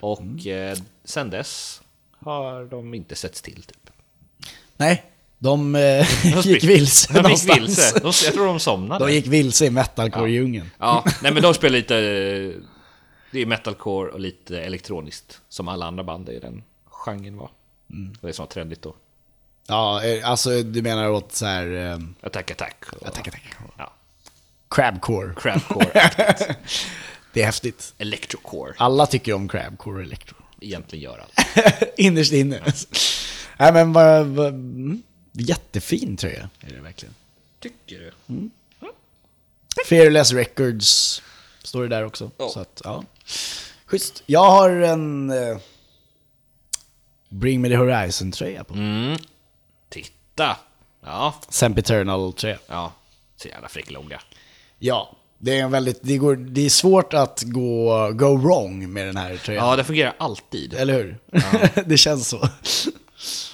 Speaker 4: Och
Speaker 3: Mm.
Speaker 4: eh, sen dess har de inte setts till typ.
Speaker 3: Nej, de eh,
Speaker 4: De
Speaker 3: gick
Speaker 4: sp-
Speaker 3: vilse
Speaker 4: De gick
Speaker 3: någonstans.
Speaker 4: vilse. De, jag tror de somnade.
Speaker 3: De gick vilse i metalcore-djungeln.
Speaker 4: Ja, nej men de spelar lite... eh, Det är metalcore och lite elektroniskt. Som alla andra band i den genren var.
Speaker 3: Mm.
Speaker 4: Och det som var trendigt då.
Speaker 3: Ja, eh, alltså du menar åt så här eh,
Speaker 4: Attack Attack. Och,
Speaker 3: Attack, attack.
Speaker 4: Ja,
Speaker 3: crabcore.
Speaker 4: crabcore,
Speaker 3: Det är häftigt.
Speaker 4: electrocore.
Speaker 3: Alla tycker om crabcore och electro.
Speaker 4: Egentligen gör allt.
Speaker 3: Innerst inne. Nej men vad... vad mm, jättefin tröja är det verkligen.
Speaker 4: Tycker du?
Speaker 3: Fearless Records står det där också. Så att, ja. Schysst. Jag har en... Eh, Bring Me The Horizon-tröja på mig.
Speaker 4: Titta! Ja,
Speaker 3: Semp Eternal-tröja.
Speaker 4: ja. Så jävla fräcklånga.
Speaker 3: Ja, det är en väldigt... Det, går, det är svårt att gå, go wrong med den här tröjan.
Speaker 4: Ja, det fungerar alltid.
Speaker 3: Eller hur? det känns så.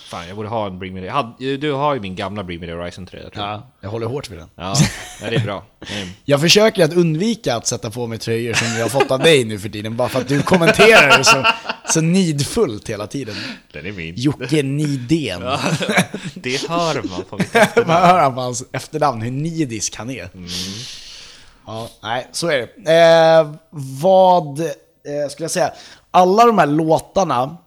Speaker 4: Fan, jag borde ha en Bring Me The... jag hade- Du har ju min gamla Bring Me The Horizon 3, jag tror jag.
Speaker 3: Ja, jag håller hårt vid den.
Speaker 4: Ja, nej, det är bra. Mm.
Speaker 3: Jag försöker att undvika att sätta på mig tröjor som jag har fått av dig nu för tiden, bara för att du kommenterar det så, så nidfullt hela tiden.
Speaker 4: Den är min.
Speaker 3: Jocke Nidén.
Speaker 4: Det hör man på mitt
Speaker 3: Man hör på hans efternamn hur nidisk han är. Ja, nej, så är det. Eh, vad eh, skulle jag säga? Alla de här låtarna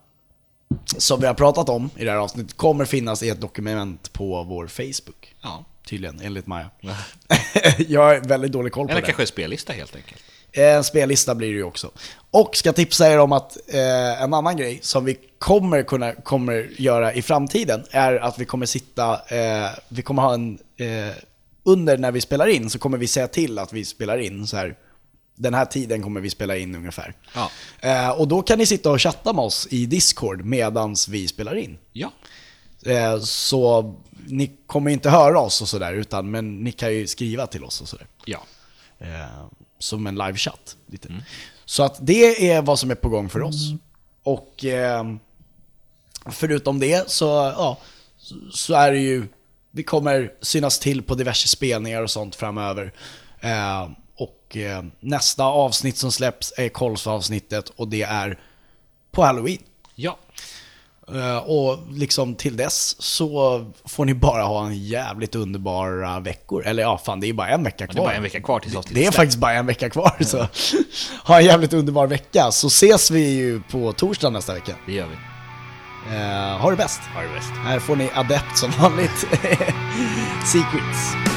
Speaker 3: som vi har pratat om i det här avsnittet kommer finnas i ett dokument på vår Facebook.
Speaker 4: Ja.
Speaker 3: Tydligen, enligt Maja. jag har väldigt dålig koll på
Speaker 4: Eller
Speaker 3: det.
Speaker 4: kanske en spellista helt enkelt.
Speaker 3: En spellista blir det ju också. Och ska tipsa er om att eh, en annan grej som vi kommer kunna kommer göra i framtiden är att vi kommer sitta, eh, vi kommer ha en, eh, under när vi spelar in så kommer vi säga till att vi spelar in så här, den här tiden kommer vi spela in ungefär.
Speaker 4: Ja.
Speaker 3: Eh, och då kan ni sitta och chatta med oss i Discord medans vi spelar in.
Speaker 4: Ja.
Speaker 3: Eh, så ni kommer inte höra oss och sådär, utan men ni kan ju skriva till oss och sådär
Speaker 4: Ja. Mm.
Speaker 3: eh, som en livechatt. Lite. Så att det är vad som är på gång för oss. Och eh, förutom det så, ja, så, så är det ju, vi kommer synas till på diverse spelningar och sånt framöver. Eh, och eh, nästa avsnitt som släpps är Kolsva-avsnittet och det är på Halloween.
Speaker 4: Ja.
Speaker 3: Eh, Och liksom till dess så får ni bara ha en jävligt underbara veckor. Eller ja, fan det är bara en vecka kvar.
Speaker 4: Det är bara en vecka kvar tills
Speaker 3: Det är
Speaker 4: avsnittet släpps. Mm.
Speaker 3: faktiskt bara en vecka kvar. Så ha en jävligt underbar vecka. Så ses vi ju på torsdag nästa vecka.
Speaker 4: Det gör vi.
Speaker 3: Eh, ha det bäst.
Speaker 4: Ha det bäst.
Speaker 3: Här får ni adept som vanligt. Secrets.